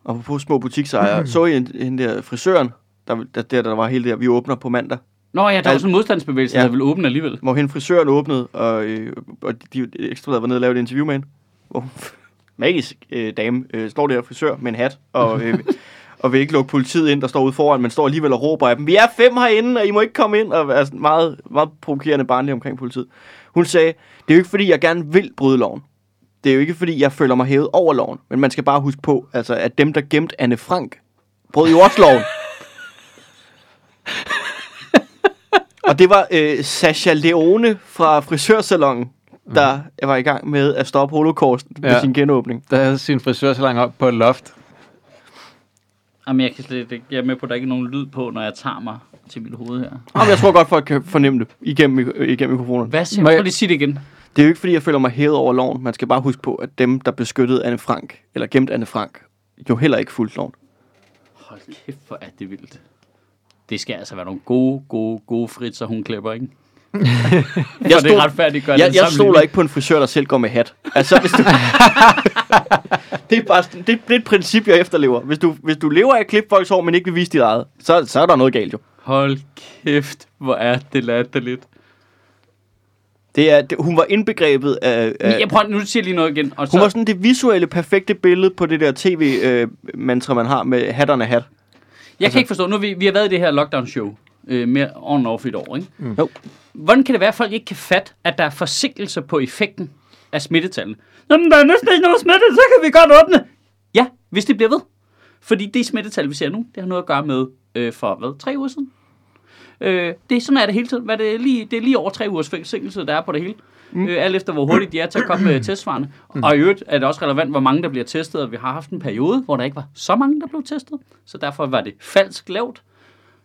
Speaker 1: Og på små butiksejere. Så I hende der frisøren, der, der, der, der var hele det her, vi åbner på mandag.
Speaker 2: Nå ja, der var
Speaker 1: Al-
Speaker 2: sådan en modstandsbevægelse,
Speaker 1: Ja.
Speaker 2: der ville åbne alligevel.
Speaker 1: Hvor hende frisøren åbnede, og, øh, og de, de ekstra der var nede og lavede et interview med hende. Hvor hun- (laughs) magisk øh, dame øh, står der frisør med en hat, og, øh, og vil ikke lukke politiet ind, der står ude foran, men står alligevel og råber af dem, vi er fem herinde, og I må ikke komme ind, og er sådan meget, meget provokerende barnlig omkring politiet. Hun sagde, det er jo ikke fordi, jeg gerne vil bryde loven. Det er jo ikke fordi, jeg føler mig hævet over loven, men man skal bare huske på, altså, at dem, der gemte Anne Frank, brød jo også loven. Og det var øh, Sasha Leone fra frisørsalongen, der var i gang med at stoppe holocaust med
Speaker 3: Ja.
Speaker 1: sin genåbning.
Speaker 3: Der havde sin frisørsalon op på et loft.
Speaker 2: Jamen, jeg, kan slet, ikke- jeg er med på, at der ikke er nogen lyd på, når jeg tager mig til mit hoved her.
Speaker 1: Jamen, jeg tror godt, folk kan fornemme det igennem, mik- øh, igennem mikrofonerne.
Speaker 2: Hvad siger
Speaker 3: Må
Speaker 2: jeg...
Speaker 3: jeg-
Speaker 2: Prøv lige at sige det igen.
Speaker 1: Det er jo ikke, fordi jeg føler mig hævet over loven. Man skal bare huske på, at dem, der beskyttede Anne Frank, eller gemte Anne Frank, jo heller ikke fuldt loven.
Speaker 2: Hold kæft, hvor er det vildt. Det skal altså være nogle gode, gode, gode fritser, hun
Speaker 1: (laughs)
Speaker 2: klipper, ikke? jeg For det
Speaker 1: stol-
Speaker 2: er retfærdigt, gør
Speaker 1: Jeg, jeg stoler ikke på en frisør, der selv går med hat. Altså, hvis du... (laughs) det, er bare, sådan- det, det er et princip, jeg efterlever. Hvis du, hvis du lever af at klippe folks hår, men ikke vil vise dit eget, så, så er der noget galt jo.
Speaker 2: Hold kæft, hvor er det latterligt.
Speaker 1: Det er, det, hun var indbegrebet af... af
Speaker 2: Jeg prøver, nu siger jeg lige noget igen. Og
Speaker 1: hun var
Speaker 2: så,
Speaker 1: sådan det visuelle, perfekte billede på det der tv-mantra, man har med hatterne hat.
Speaker 2: jeg
Speaker 1: altså-
Speaker 2: kan ikke forstå, nu har vi, vi har været i det her lockdown-show øh, mere on and off i et år, ikke?
Speaker 1: Mm. Jo.
Speaker 2: Hvordan kan det være, at folk ikke kan fatte, at der er forsinkelser på effekten af smittetallene? Jamen, der er næsten ikke nogen smitte, så kan vi godt åbne. Ja, hvis det bliver ved. Fordi det smittetal, vi ser nu, det har noget at gøre med øh, for, hvad, tre uger siden? Øh, det er sådan er det hele tiden. Hvad er det, lige, det er lige over tre ugers forsinkelse, der er på det hele. Mm. Øh, alt efter, hvor hurtigt de er til at komme med testsvarene. Mm. Og i øvrigt er det også relevant, hvor mange der bliver testet. Og vi har haft en periode, hvor der ikke var så mange, der blev testet. Så derfor var det falsk lavt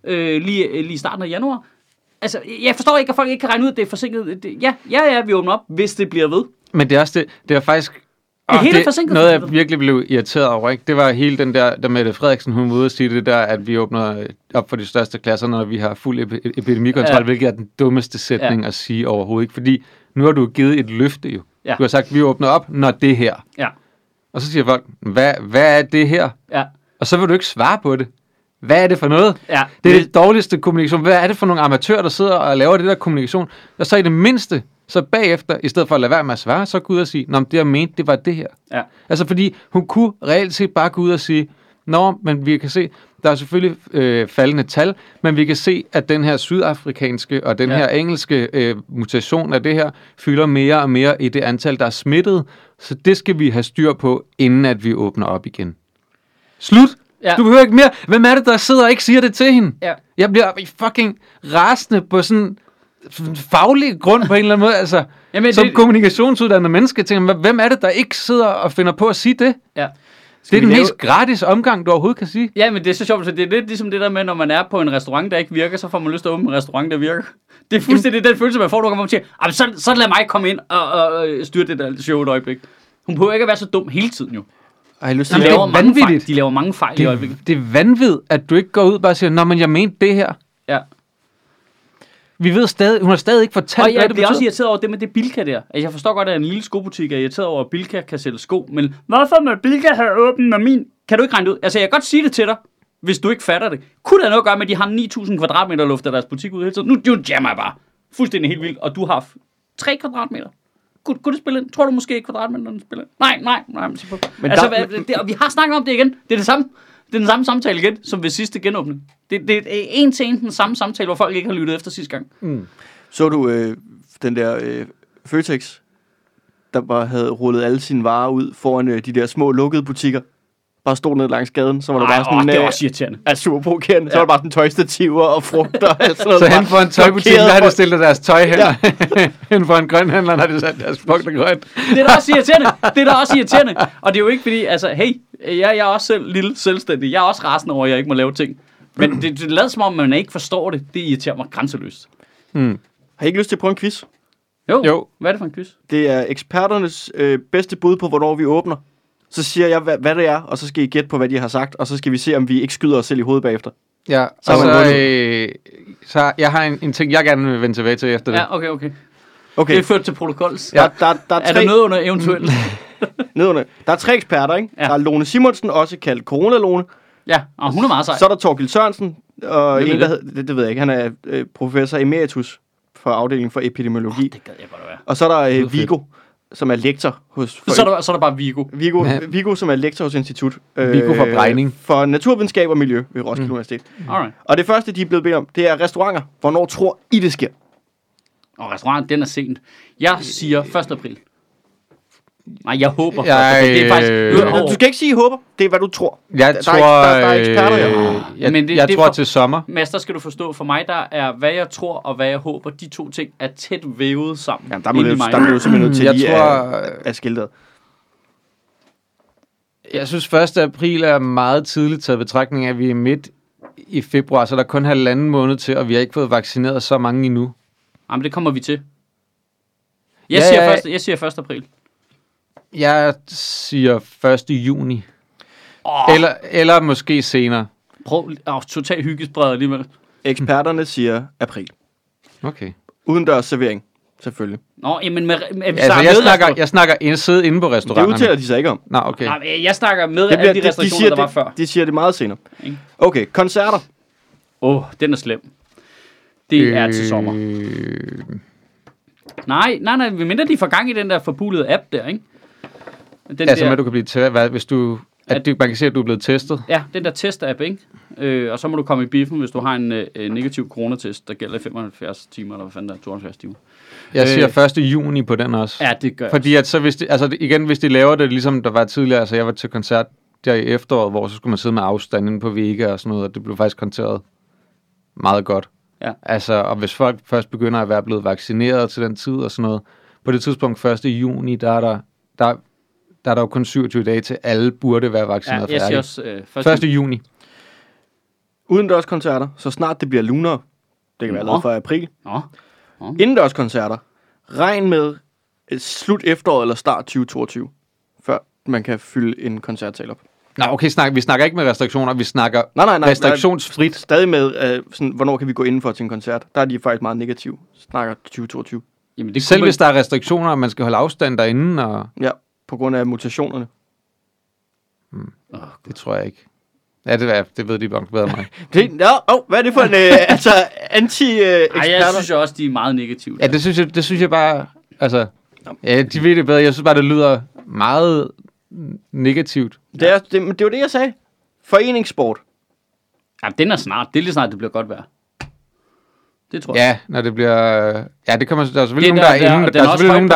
Speaker 2: øh, lige, øh, lige i starten af januar. Altså, jeg forstår ikke, at folk ikke kan regne ud, at det er forsinket. Det, ja, ja, ja, vi åbner op, hvis det bliver ved.
Speaker 3: Men det er også det, det er faktisk...
Speaker 2: Det hele er
Speaker 3: det,
Speaker 2: forsinket.
Speaker 3: noget, jeg virkelig blev irriteret over, ikke? det var hele den der, der Mette Frederiksen, hun var ude og sige det der, at vi åbner op for de største klasser, når vi har fuld epi- epidemikontrol,
Speaker 2: Ja.
Speaker 3: ja. hvilket er den dummeste sætning ja. at sige overhovedet. Ikke? Fordi nu har du givet et løfte jo.
Speaker 2: Ja.
Speaker 3: Ja. Du har sagt, vi åbner op, når det her.
Speaker 2: Ja,
Speaker 3: Og så siger folk, hvad, hvad er det her?
Speaker 2: ja,
Speaker 3: Og så vil du ikke svare på det. Hvad er det for noget?
Speaker 2: ja.
Speaker 3: Det er det dårligste kommunikation. Hvad er det for nogle amatører, der sidder og laver det der kommunikation? Og så i det mindste, så bagefter, i stedet for at lade være med at svare, så gå ud og sige, Nå, men det jeg mente, det var det her.
Speaker 2: Ja.
Speaker 3: Altså fordi hun kunne reelt set bare gå ud og sige, Nå, men vi kan se, der er selvfølgelig øh, faldende tal, men vi kan se, at den her sydafrikanske og den
Speaker 2: Ja.
Speaker 3: ja. her engelske øh, mutation af det her fylder mere og mere i det antal, der er smittet. Så det skal vi have styr på, inden at vi åbner op igen. Slut!
Speaker 2: Ja.
Speaker 3: Ja. Du behøver ikke mere. Hvem er det, der sidder og ikke siger det til hende?
Speaker 2: Ja.
Speaker 3: Jeg bliver fucking rasende på sådan sådan faglig grund på en eller anden måde. Altså,
Speaker 2: Jamen,
Speaker 3: Jamen, som
Speaker 2: det-
Speaker 3: det... kommunikationsuddannet menneske tænker man, hvem er det, der ikke sidder og finder på at sige det?
Speaker 2: ja.
Speaker 3: det er
Speaker 1: vi
Speaker 3: den
Speaker 1: lave-
Speaker 3: mest gratis omgang, du overhovedet kan sige.
Speaker 2: Ja, men det er så sjovt, så det er lidt ligesom det der med, når man er på en restaurant, der ikke virker, så får man lyst til at åbne en restaurant, der virker. Det er fuldstændig den følelse, man får, når man kommer op til, "Jamen, så, så lad mig komme ind og, og, og styre det der show et øjeblik. Hun behøver ikke at være så dum hele tiden, jo.
Speaker 1: Og jeg har lyst
Speaker 2: De,
Speaker 1: til at
Speaker 3: det er
Speaker 2: laver,
Speaker 1: lave...
Speaker 2: mange fejl.
Speaker 3: vanvittigt.
Speaker 2: de laver mange fejl i øjeblikket.
Speaker 3: Det, det er vanvid, at du ikke går ud og bare siger, Nå, men jeg mente det her.
Speaker 2: Ja.
Speaker 3: Vi ved stadig, hun har stadig ikke fortalt,
Speaker 2: Og
Speaker 3: hvad
Speaker 2: jeg
Speaker 3: det
Speaker 2: bliver
Speaker 3: betyder.
Speaker 2: også irriteret over det med det Bilka der. Altså, jeg forstår godt, at en lille skobutik er irriteret over, at Bilka kan sælge sko, men hvorfor må Bilka have åbent, når min... Kan du ikke regne det ud? Altså, jeg kan godt sige det til dig, hvis du ikke fatter det. Kunne det have noget at gøre med, at de har 9.000 kvadratmeter luft af deres butik ud hele tiden? Nu nu jammer jeg bare. Fuldstændig helt vildt. Og du har 3 kvadratmeter. Kunne, kunne det spille ind? Tror du måske ikke kvadratmeterne spiller ind? Nej, nej, nej. Men, sig på.
Speaker 1: Men
Speaker 2: altså,
Speaker 1: der-
Speaker 2: hvad, det, og vi har snakket om det igen. Det er det samme. Det er den samme samtale igen, som ved sidste genåbning. Det, det er en til en den samme samtale, hvor folk ikke har lyttet efter sidste gang.
Speaker 1: Så du øh, den der øh, Føtex, der bare havde rullet alle sine varer ud foran øh, de der små lukkede butikker? Bare stod ned langs gaden, så var der
Speaker 2: Ej,
Speaker 1: bare sådan...
Speaker 2: åh, det er
Speaker 1: øh,
Speaker 2: også irriterende.
Speaker 1: er super provokerende. Ja. Så var det bare sådan tøjstativer og frugter og
Speaker 2: (laughs)
Speaker 1: sådan noget.
Speaker 3: Så
Speaker 1: der
Speaker 3: hen
Speaker 1: bare
Speaker 3: for en tøjbutik,
Speaker 1: blokerede
Speaker 3: der har de
Speaker 1: folk.
Speaker 3: stillet deres tøj hen. Ja. (laughs) hen for en grønhandler, der har de sat deres frugt og grønt.
Speaker 2: (laughs) Det er da også irriterende. Det er da også irriterende. Og det er jo ikke fordi, altså, hey, jeg, jeg er også selv lille selvstændig. Jeg er også rasende over, at jeg ikke må lave ting. Men det, det lader som om, man ikke forstår det. Det irriterer mig grænseløst. Mm.
Speaker 1: Har I ikke lyst til at prøve en quiz?
Speaker 2: Jo, jo.
Speaker 3: Jo.
Speaker 2: hvad er det for en quiz?
Speaker 1: Det er eksperternes øh, bedste bud på, hvornår vi åbner. Så siger jeg, hvad, hvad det er, og så skal I gætte på, hvad de har sagt, og så skal vi se, om vi ikke skyder os selv i hovedet bagefter.
Speaker 3: Ja, og
Speaker 1: Så har man
Speaker 3: så,
Speaker 1: vundet.
Speaker 3: øh, så jeg har en, en ting, jeg gerne vil vende tilbage til efter det.
Speaker 2: Ja, okay, okay.
Speaker 1: Okay,
Speaker 2: Det er ført til protokolls. Ja.
Speaker 1: der, der, der, er
Speaker 2: Er
Speaker 1: tre,
Speaker 2: der noget under eventuelt?
Speaker 1: nedunder, der er tre eksperter, ikke?
Speaker 2: Ja.
Speaker 1: Ja. Der er Lone Simonsen, også kaldt Corona-Lone.
Speaker 2: Ja, og hun er meget sej.
Speaker 1: Så er der Torgild Sørensen, og
Speaker 2: Hvem er
Speaker 1: en, der
Speaker 2: det?
Speaker 1: hed, det, det ved jeg ikke, han er øh, professor emeritus for afdelingen for epidemiologi.
Speaker 2: Det gad jeg godt at være.
Speaker 1: Og så er der
Speaker 3: lyder
Speaker 1: øh, Vigo, som er lektor hos...
Speaker 2: Så er der, så er der bare Vigo.
Speaker 1: Vigo,
Speaker 3: Ja.
Speaker 1: Vigo, som er lektor hos Institut øh,
Speaker 3: Viggo for Brejning.
Speaker 1: for Naturvidenskab og Miljø ved Roskilde mm. Universitet.
Speaker 2: Alright.
Speaker 1: Og det første, de er blevet bedt om, det er restauranter. Hvornår tror I, det sker?
Speaker 2: Og restauranten, den er sent. Jeg siger 1. april. Nej, jeg håber.
Speaker 3: Jeg,
Speaker 2: okay, det er faktisk...
Speaker 3: øh,
Speaker 2: Nu er jeg
Speaker 1: Nå,
Speaker 2: over.
Speaker 1: Du skal ikke sige håber, det er hvad du tror.
Speaker 3: Jeg
Speaker 1: Der er
Speaker 3: tror,
Speaker 1: ikke- der- der er eksperter,
Speaker 3: øh,
Speaker 1: ja.
Speaker 3: jeg,
Speaker 2: Men det-
Speaker 3: jeg
Speaker 2: det er
Speaker 3: tror
Speaker 2: for-
Speaker 3: til sommer.
Speaker 2: Mads, der skal du forstå, for mig der er, hvad jeg tror og hvad jeg håber, de to ting er tæt vævet sammen.
Speaker 1: Jamen, der må
Speaker 2: inde i
Speaker 1: det,
Speaker 2: mig.
Speaker 1: der må det jo simpelthen nødt til
Speaker 3: Jeg
Speaker 1: lige
Speaker 3: tror- øh,
Speaker 1: at, at skille det.
Speaker 3: Jeg synes 1. april er meget tidligt taget i betragtning, af, at vi er midt i februar, så der er kun halvanden måned til, og vi har ikke fået vaccineret så mange endnu.
Speaker 2: Jamen, det kommer vi til. Jeg,
Speaker 3: Ja,
Speaker 2: siger,
Speaker 3: ja.
Speaker 2: Først, jeg siger 1. april.
Speaker 3: Jeg siger 1. juni.
Speaker 2: Åh.
Speaker 3: Eller, eller måske senere.
Speaker 2: Prøv oh, total hyggesbred alligevel.
Speaker 1: Eksperterne siger april.
Speaker 3: Okay.
Speaker 1: Udendørs servering, selvfølgelig.
Speaker 2: Nå, jamen, med, med, med,
Speaker 3: Altså, jeg snakker, jeg snakker ind, sidde inde på
Speaker 1: Det
Speaker 3: restauranterne.
Speaker 1: udtaler de sig ikke om.
Speaker 3: Nå, okay.
Speaker 2: Nej, jeg snakker med
Speaker 1: Det
Speaker 2: alle de restriktioner,
Speaker 1: siger
Speaker 2: der var
Speaker 1: det,
Speaker 2: før.
Speaker 1: De siger det meget senere.
Speaker 2: Ikke?
Speaker 1: Okay, koncerter.
Speaker 2: Åh, oh, den er slem. Det øh... er til sommer.
Speaker 3: Øh,
Speaker 2: Nej, nej, nej, vi mindre de får gang i den der forbulede app der, ikke? Den
Speaker 3: altså,
Speaker 2: der,
Speaker 3: med, at du kan blive til, hvad, hvis du, at
Speaker 2: At-
Speaker 3: du, man kan se, at du er blevet testet.
Speaker 2: Ja, den der test-app, ikke? Øh, og så må du komme i biffen, hvis du har en øh, negativ coronatest, der gælder i 75 timer, eller hvad fanden der er, 72 timer.
Speaker 3: Jeg
Speaker 2: Øh.
Speaker 3: siger 1. juni på den også.
Speaker 2: Ja, det gør jeg
Speaker 3: Fordi at så hvis de, altså det- igen, hvis de laver det, ligesom der var tidligere, altså jeg var til koncert der i efteråret, hvor så skulle man sidde med afstanden på vægge og sådan noget, og det blev faktisk konteret meget godt.
Speaker 2: Ja.
Speaker 3: Altså, og hvis folk først begynder at være blevet vaccineret til den tid og sådan noget, på det tidspunkt 1. juni, der er der, der, der er der jo kun 27 dage til alle burde være
Speaker 2: Ja,
Speaker 3: vaccineret
Speaker 2: jeg siger
Speaker 3: færdige.
Speaker 2: også øh, først...
Speaker 3: 1. juni.
Speaker 1: Udendørs koncerter, så snart det bliver lunere. Det kan være
Speaker 2: Nå.
Speaker 1: allerede fra april.
Speaker 2: Nå,
Speaker 1: Indendørs koncerter. Regn med øh, slut efteråret eller start 2022, før man kan fylde en koncertsal op.
Speaker 3: Nå, okay, snak, vi snakker ikke med restriktioner, vi snakker
Speaker 1: Nej, nej, nej.
Speaker 3: restriktionsfrit.
Speaker 1: Stadig med, øh, sådan, hvornår kan vi gå indenfor til en koncert. Der er de faktisk meget negative. Snakker 2022.
Speaker 2: jamen det
Speaker 3: Selv
Speaker 2: kunne
Speaker 3: hvis der er restriktioner, og man skal holde afstand derinde, og
Speaker 1: Ja, på grund af mutationerne.
Speaker 2: man... Åh,
Speaker 3: Det tror jeg ikke. Ja, det, er, det ved de nok bedre end
Speaker 2: (laughs)
Speaker 3: mig.
Speaker 1: Det, ja, oh, hvad er det for en øh, altså, anti-eksperter?
Speaker 2: Ej, jeg synes jo også, de er meget negative.
Speaker 3: ja, det synes jeg, det synes jeg bare... Altså, ja, de ved det bedre. Jeg synes bare, det lyder meget negativt.
Speaker 1: Det, er, det, men det var det, jeg sagde. Foreningssport.
Speaker 2: ja, den er snart. Det er lige snart, det bliver godt vejr. Det tror jeg.
Speaker 3: Ja, når det bliver... øh, Ja, det kommer... Der er
Speaker 2: det
Speaker 3: selvfølgelig nogen, der er inden, altså,
Speaker 2: og
Speaker 3: der er selvfølgelig nogen,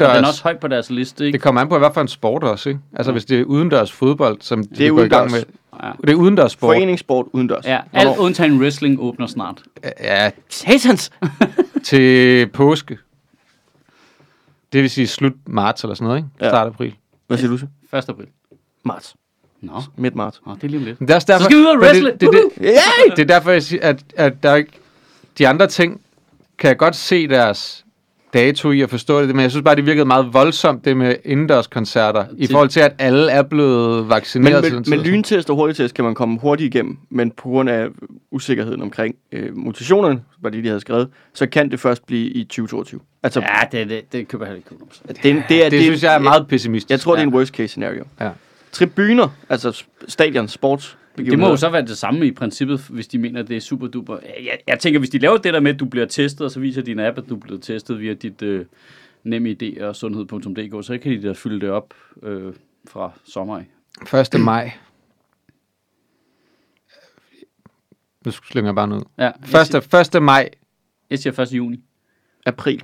Speaker 3: der er
Speaker 2: Og den er også
Speaker 3: indendørs.
Speaker 2: højt på deres liste, ikke?
Speaker 3: Det kommer an på, hvad for en sport også, ikke? Altså, hvis det er udendørs fodbold, som de
Speaker 1: Det er
Speaker 3: går i gang med.
Speaker 1: udendørs.
Speaker 2: Ja.
Speaker 3: Det er udendørs sport.
Speaker 1: Foreningssport udendørs.
Speaker 2: Ja,
Speaker 1: Hvornår?
Speaker 2: alt undtagen wrestling åbner snart.
Speaker 3: Ja,
Speaker 1: Satans!
Speaker 3: til påske. Det vil sige slut marts eller sådan noget, ikke?
Speaker 1: Ja.
Speaker 3: Start april.
Speaker 1: Hvad siger du så?
Speaker 2: 1. april.
Speaker 1: Marts.
Speaker 2: Nå,
Speaker 1: Midt marts.
Speaker 2: Nå det er lige om lidt.
Speaker 3: Men Det er også derfor,
Speaker 2: Så skal vi ud og
Speaker 3: men det-
Speaker 2: wrestle.
Speaker 3: Det, det, det,
Speaker 1: Yay!
Speaker 3: det er derfor, jeg siger, at, at der er ikke, de andre ting kan jeg godt se deres dato i at forstå det, men jeg synes bare, det virkede meget voldsomt, det med indendørskoncerter, i
Speaker 2: Til-
Speaker 3: forhold til, at alle er blevet
Speaker 1: Men
Speaker 3: vaccineret til den
Speaker 1: med,
Speaker 3: tid.
Speaker 1: med lyntest og hurtigtest kan man komme hurtigt igennem, men på grund af usikkerheden omkring øh, mutationerne, var det, de havde skrevet, så kan det først blive i 2022. Altså, ja,
Speaker 2: Ja, det, det, det køber jeg heller ikke 100%.
Speaker 1: det, det, det, er,
Speaker 3: det, det synes jeg er meget pessimistisk.
Speaker 1: Jeg tror, det er en worst case scenario.
Speaker 3: Ja.
Speaker 1: Tribuner, altså s- stadion, sports.
Speaker 2: Det må jo så være det samme i princippet, hvis de mener, det er super duper. Jeg, jeg tænker, hvis de laver det der med, at du bliver testet, og så viser din app, at du er blevet testet via dit øh, nemme idé og sundhed.dk, så kan de da fylde det op øh, fra sommer af.
Speaker 3: 1. maj. Nu slynger jeg bare noget.
Speaker 2: Ja, jeg, siger,
Speaker 3: 1. 1. maj.
Speaker 2: jeg siger 1. juni.
Speaker 1: April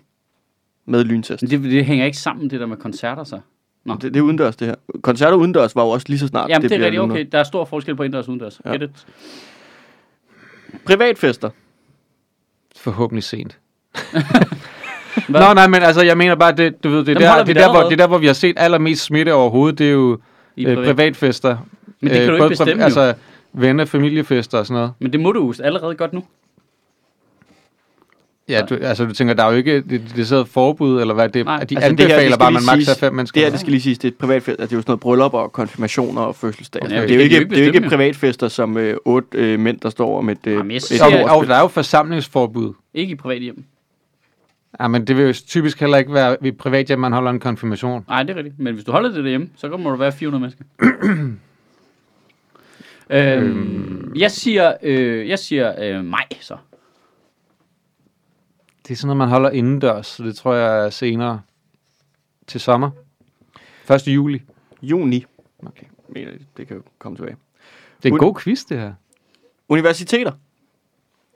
Speaker 1: med lyntest.
Speaker 2: Men det, det hænger ikke sammen, det der med koncerter, så. Nå.
Speaker 1: Det, det er udendørs, det her. Koncerter udendørs var jo også lige så snart.
Speaker 2: Jamen, det, det er
Speaker 1: bliver
Speaker 2: rigtigt.
Speaker 1: lunere.
Speaker 2: Okay, der er stor forskel på indendørs og udendørs.
Speaker 1: Ja.
Speaker 2: Get it?
Speaker 1: Privatfester.
Speaker 3: Forhåbentlig sent.
Speaker 2: Hvad?
Speaker 3: Nå, nej, men altså, jeg mener bare, det, du ved, det, er
Speaker 2: Dem
Speaker 3: der,
Speaker 2: holder vi
Speaker 3: det,
Speaker 2: da
Speaker 3: der, hvor,
Speaker 2: allerede.
Speaker 3: det er der, hvor vi har set allermest smitte overhovedet, det er jo
Speaker 2: I
Speaker 3: øh,
Speaker 2: privat.
Speaker 3: privatfester.
Speaker 2: Men det kan du ikke
Speaker 3: både
Speaker 2: bestemme, jo.
Speaker 3: Altså, venner, familiefester og sådan noget.
Speaker 2: Men det må du jo allerede godt nu.
Speaker 3: Ja, du, altså, du tænker, der er jo ikke et decideret forbud, eller hvad det er.
Speaker 2: Nej.
Speaker 3: De
Speaker 1: Altså,
Speaker 3: altså,
Speaker 1: det her,
Speaker 3: anbefaler
Speaker 1: det skal
Speaker 3: det her, bare, at
Speaker 1: lige
Speaker 3: man maks er
Speaker 1: siges-
Speaker 3: fem mennesker.
Speaker 1: Det her, det skal lige siges, det er et privatfest. Altså, det er jo sådan noget bryllupper og konfirmationer og fødselsdage.
Speaker 3: Okay.
Speaker 1: Okay. Det er jo
Speaker 2: Det kan
Speaker 1: ikke,
Speaker 2: vi jo ikke
Speaker 1: det er jo ikke
Speaker 2: bestemme, jo.
Speaker 1: privatfester, som øh, otte øh, mænd, der står om et, øh,
Speaker 2: Jamen, jeg
Speaker 1: et
Speaker 2: synes,
Speaker 3: og,
Speaker 2: det er-
Speaker 1: bordspil.
Speaker 3: og der er jo forsamlingsforbud.
Speaker 2: Ikke i privat hjem.
Speaker 3: Ja, men det vil jo typisk heller ikke være i privat, at man holder en konfirmation.
Speaker 2: Nej, det er rigtigt. Men hvis du holder det derhjemme, så må du være 400 mennesker. øhm, Jeg siger, øh, jeg siger øh, maj, så.
Speaker 3: Det er sådan noget, man holder indendørs, så det tror jeg er senere til sommer. 1. juli.
Speaker 1: Juni.
Speaker 3: Okay.
Speaker 1: Mener jeg, Det kan jo komme tilbage.
Speaker 3: Det er en
Speaker 1: Ud-
Speaker 3: god quiz, det her.
Speaker 1: Universiteter.
Speaker 2: Dem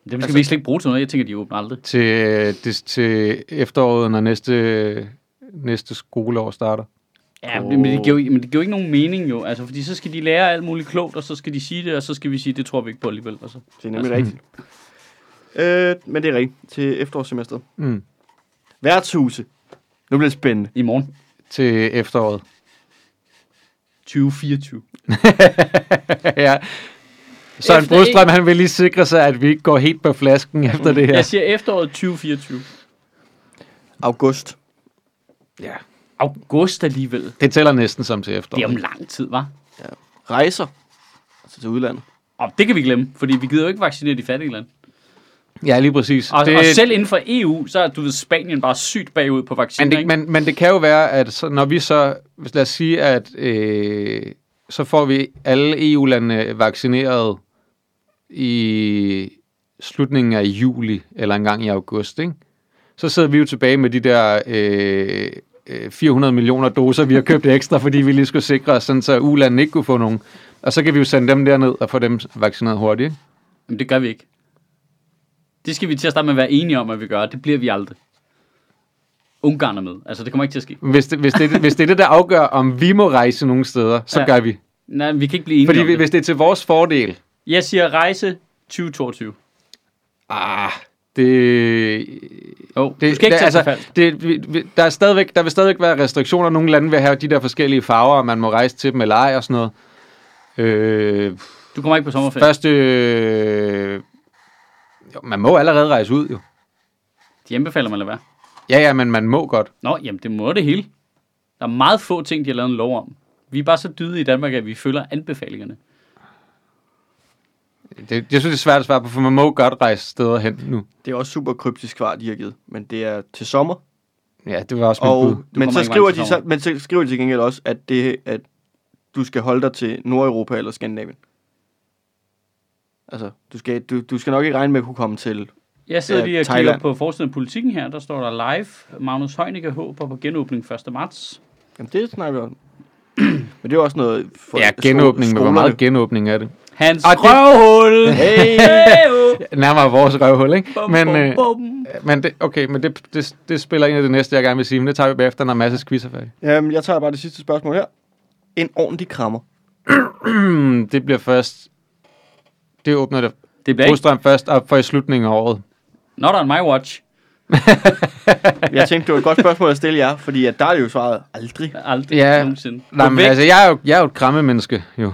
Speaker 2: skal
Speaker 1: Altså-
Speaker 2: altså, vi slet ikke bruge til noget. Jeg tænker, de åbner aldrig.
Speaker 3: til, øh, det, til efteråret, når næste, næste skoleår starter.
Speaker 2: Ja, men det, giver, jo- men det giver jo ikke nogen mening jo, altså, fordi så skal de lære alt muligt klogt, og så skal de sige det, og så skal vi sige, det tror vi ikke på alligevel. Altså.
Speaker 1: Det er nemlig rigtigt. Øh, men det er rigtigt. Til efterårssemesteret.
Speaker 3: Mm.
Speaker 1: Værtshuse. Nu bliver det spændende.
Speaker 2: I morgen
Speaker 3: Til
Speaker 2: (laughs)
Speaker 3: efteråret.
Speaker 2: 2024.
Speaker 3: ja. Søren
Speaker 2: Efter
Speaker 3: Brostrøm, han vil lige sikre sig, at vi ikke går helt på flasken efter det
Speaker 2: Ja. Jeg
Speaker 3: her.
Speaker 2: siger efteråret 2024.
Speaker 1: August.
Speaker 3: Ja.
Speaker 2: August alligevel.
Speaker 3: Det tæller næsten som til
Speaker 2: Det er om
Speaker 3: efteråret.
Speaker 2: lang tid, var.
Speaker 1: Rejser. Altså til udlandet.
Speaker 2: Og det kan vi glemme, fordi vi gider jo ikke vaccinere de fattige lande.
Speaker 3: Ja, lige præcis.
Speaker 2: Og, det...
Speaker 3: det,
Speaker 2: og selv inden for EU, så er du ved, Spanien bare sygt bagud på vacciner.
Speaker 3: men, det,
Speaker 2: ikke?
Speaker 3: men, men det kan jo være, at så, når vi så, hvis lad os sige, at øh, så får vi alle EU-landene vaccineret i slutningen af juli, eller engang i august, ikke? så sidder vi jo tilbage med de der øh, øh, 400 millioner doser, vi har købt ekstra, fordi vi lige skulle sikre os, sådan så ulandene ikke kunne få nogen. Og så kan vi jo sende dem derned og få dem vaccineret hurtigt. ikke?
Speaker 2: Jamen, det gør vi ikke. Det skal vi til at starte med at være enige om, at vi gør. og Det bliver vi aldrig. Ungarn er med. Altså, det kommer ikke til at ske.
Speaker 3: Hvis det, hvis, det, hvis det er det, der afgør, om vi må rejse nogle steder, så
Speaker 2: Ja.
Speaker 3: ja. gør vi.
Speaker 2: Nej, vi kan ikke blive enige
Speaker 3: Fordi
Speaker 2: om
Speaker 3: vi-
Speaker 2: det.
Speaker 3: hvis det er til vores fordel,
Speaker 2: Jeg siger rejse 2022.
Speaker 3: Ah, det...
Speaker 2: Oh, det,
Speaker 3: Det,
Speaker 2: du skal ikke
Speaker 3: det,
Speaker 2: tage altså, fald.
Speaker 3: det, vi- vi- der, er stadigvæk, der vil stadigvæk være restriktioner. Nogle lande vil have de der forskellige farver, og man må rejse til dem eller ej og sådan noget. Øh,
Speaker 2: Du kommer ikke på sommerferie. Først.
Speaker 3: første... Øh, jo, man må allerede rejse ud, jo.
Speaker 2: De anbefaler mig at lade være.
Speaker 3: Ja, ja, men man må godt.
Speaker 2: Nå, jamen, det må det hele. Der er meget få ting, de har lavet en lov om. Vi er bare så dyde i Danmark, at vi følger anbefalingerne.
Speaker 3: Det, jeg synes, det er svært at svare på, for man må godt rejse steder hen nu.
Speaker 1: Det er også super kryptisk svar, de har givet. Men det er til sommer.
Speaker 3: Ja, det var også mit bud.
Speaker 1: Og, men,
Speaker 2: kommer
Speaker 1: så
Speaker 2: ikke
Speaker 1: skriver
Speaker 2: vejen til
Speaker 1: de så,
Speaker 2: sommer.
Speaker 1: men så skriver de til gengæld også, at, det, at du skal holde dig til Nordeuropa eller Skandinavien. Altså, du skal, du, du skal nok ikke regne med at kunne komme til.
Speaker 2: Jeg sidder
Speaker 3: Øh,
Speaker 1: Ja,
Speaker 2: lige og kigger
Speaker 1: Thailand.
Speaker 2: på forsiden af politikken her. Der står der live. Magnus Heunicke håber på genåbning 1. marts.
Speaker 1: Jamen, det snakker vi om. (clears throat) Men det er også noget... For
Speaker 3: Ja,
Speaker 1: sko-
Speaker 3: genåbning, men hvor
Speaker 1: skolerne.
Speaker 3: meget genåbning er det?
Speaker 2: Hans
Speaker 3: Og Ah, det- (laughs)
Speaker 2: røvhul! Hey!
Speaker 3: Nærmere vores røvhul, ikke? Men, øh,
Speaker 2: bum.
Speaker 3: men det, okay, men det, det, det spiller ind i det næste, jeg gerne vil sige, men det tager vi bagefter, når masser quiz er færdig.
Speaker 1: Jamen, jeg tager bare det sidste spørgsmål her. En ordentlig krammer.
Speaker 3: Mm, det bliver først... Det åbner det
Speaker 2: Det bliver ikke.
Speaker 3: Brostrøm først op for i slutningen af året.
Speaker 2: Not on my watch.
Speaker 1: Jeg tænkte, det var et godt spørgsmål at stille jer, fordi at der er det jo svaret aldrig.
Speaker 2: Aldrig ja.
Speaker 3: Ja.
Speaker 2: nogensinde.
Speaker 3: Nej,
Speaker 2: Gå
Speaker 3: men
Speaker 2: væk.
Speaker 3: altså, jeg er jo, jeg er jo et krammemenneske, jo.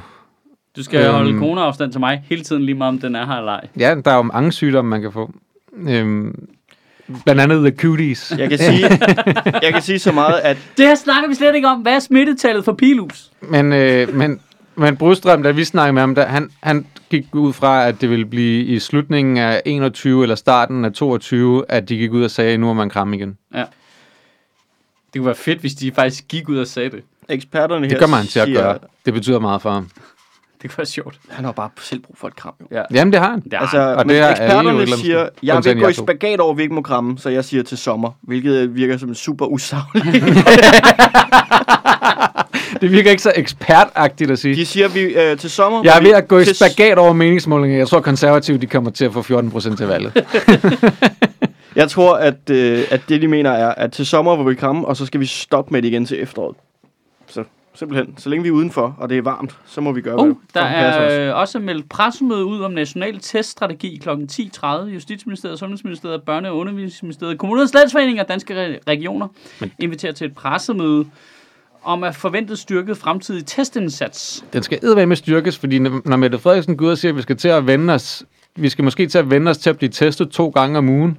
Speaker 2: Du skal øhm.
Speaker 3: Øhm.
Speaker 2: holde corona-afstand til mig hele tiden, lige meget om den er her eller ej.
Speaker 3: Ja, der er jo mange sygdomme, man kan få. Øhm, blandt andet the cuties.
Speaker 1: Jeg kan
Speaker 3: (laughs)
Speaker 1: sige, jeg kan sige så meget, at
Speaker 2: Det her snakker vi slet ikke om. Hvad er smittetallet for pilus?
Speaker 3: Men, øh, men, men Brostrøm, da vi snakkede med ham, der, han, han gik ud fra, at det ville blive i slutningen af 21 eller starten af 22, at de gik ud og sagde, nu er man kram igen.
Speaker 2: Det kunne være fedt, hvis de faktisk gik ud og sagde det.
Speaker 1: eksperterne her
Speaker 3: Det kommer han til at
Speaker 1: siger,
Speaker 3: gøre. Det betyder meget for ham.
Speaker 2: Det kunne være sjovt.
Speaker 1: Han har bare selv brug for et kram, jo.
Speaker 3: Jamen, det har han.
Speaker 2: Ja,
Speaker 1: Altså,
Speaker 2: altså,
Speaker 3: og
Speaker 1: og men
Speaker 3: det er
Speaker 1: det
Speaker 3: alle jo
Speaker 1: eksperterne
Speaker 3: et eller andet
Speaker 1: siger,
Speaker 3: sted.
Speaker 1: jeg
Speaker 3: Undtagen
Speaker 1: vil gå
Speaker 3: jer
Speaker 1: i
Speaker 3: to.
Speaker 1: spagat over, at vi ikke må kramme, så jeg siger til sommer, hvilket virker som super usagligt. (laughs)
Speaker 3: Det virker ikke så ekspertagtigt at sige.
Speaker 1: De siger, vi øh, til sommer...
Speaker 3: Jeg er
Speaker 1: hvor vi-
Speaker 3: ved at gå i
Speaker 1: til-
Speaker 3: spagat over meningsmålingen. Jeg tror, konservative de kommer til at få 14 procent til valget.
Speaker 1: (laughs) Jeg tror, at, øh, at det, de mener, er, at til sommer hvor vi kramme, og så skal vi stoppe med det igen til efteråret. Så simpelthen, så længe vi er udenfor, og det er varmt, så må vi gøre,
Speaker 3: Uh,
Speaker 2: oh,
Speaker 1: hvad
Speaker 2: der
Speaker 1: der passer os.
Speaker 2: er øh, også meldt pressemøde ud om national teststrategi kl. 10.30. Justitsministeriet, Sundhedsministeriet, Børne- og Undervisningsministeriet, Kommunernes Landsforening og Danske Re- Regioner inviterer til et pressemøde om at forventet styrket fremtidig testindsats.
Speaker 3: Den skal eddermame styrkes, fordi når når Mette Frederiksen går ud og siger, at vi skal til at vende os, vi skal måske til at vende os til at blive testet to gange om ugen,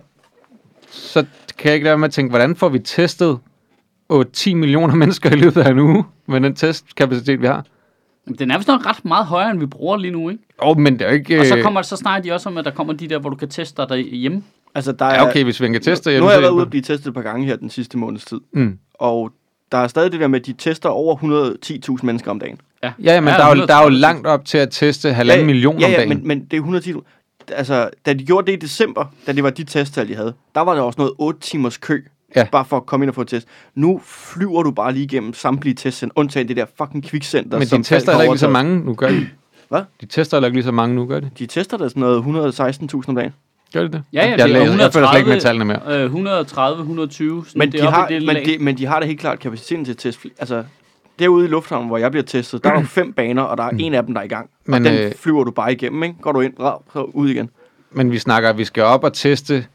Speaker 3: så kan jeg ikke lade være med at tænke, hvordan får vi testet 8-10 millioner mennesker i løbet af en uge med den testkapacitet, vi har?
Speaker 2: Jamen, Den er vist nok ret meget højere, end vi bruger lige nu, ikke?
Speaker 3: Åh, oh, men det er jo ikke...
Speaker 2: Og så,
Speaker 3: øh,
Speaker 2: kommer, så snakker de også om, at der kommer de der, hvor du kan teste dig derhjemme.
Speaker 1: Altså, der er,
Speaker 3: Ja, okay, hvis vi kan teste...
Speaker 1: nu har jeg været ude at blive testet et par gange her den sidste måneds tid,
Speaker 3: Mm.
Speaker 1: og der er stadig det der med, at de tester over 110.000 mennesker om dagen.
Speaker 3: Ja, ja, men
Speaker 2: Ja,
Speaker 3: der, er jo, der er jo
Speaker 2: 130.
Speaker 3: langt op til at teste halvanden million
Speaker 1: ja, ja,
Speaker 3: om dagen.
Speaker 1: Men, men det er 110. Altså, da de gjorde det i december, da det var de testtal, de havde, der var der også noget 8 timers kø,
Speaker 3: Ja.
Speaker 1: bare for at komme ind og få et test. Nu flyver du bare lige igennem samtlige testcenter, undtagen det der fucking kvikcenter,
Speaker 3: Men
Speaker 1: som
Speaker 3: de tester
Speaker 1: Falk
Speaker 3: heller ikke lige så
Speaker 1: overtaget.
Speaker 3: mange nu, gør de?
Speaker 1: Hvad?
Speaker 3: De tester heller ikke lige så mange nu, gør de?
Speaker 1: De tester der sådan noget 116.000 om dagen.
Speaker 3: Gør de det?
Speaker 2: Ja, ja, det er
Speaker 3: jeg, læser, jeg føler slet ikke med
Speaker 2: 130
Speaker 3: tallene mere.
Speaker 2: Øh, 130, 120. Sådan
Speaker 1: Men,
Speaker 2: det
Speaker 1: de
Speaker 2: er oppe i
Speaker 1: har,
Speaker 2: det
Speaker 1: men,
Speaker 2: lag.
Speaker 1: de, men de har da helt klart kapaciteten til at teste. fl- Altså, derude i lufthavnen, hvor jeg bliver testet, der er jo
Speaker 3: (clears throat)
Speaker 1: fem baner, og der er en af dem, der er i gang. Men, og
Speaker 3: Mm. Men,
Speaker 1: den
Speaker 3: øh,
Speaker 1: flyver du bare igennem, ikke? Går du ind, rav, så ud igen.
Speaker 3: Men vi snakker, at vi skal op og teste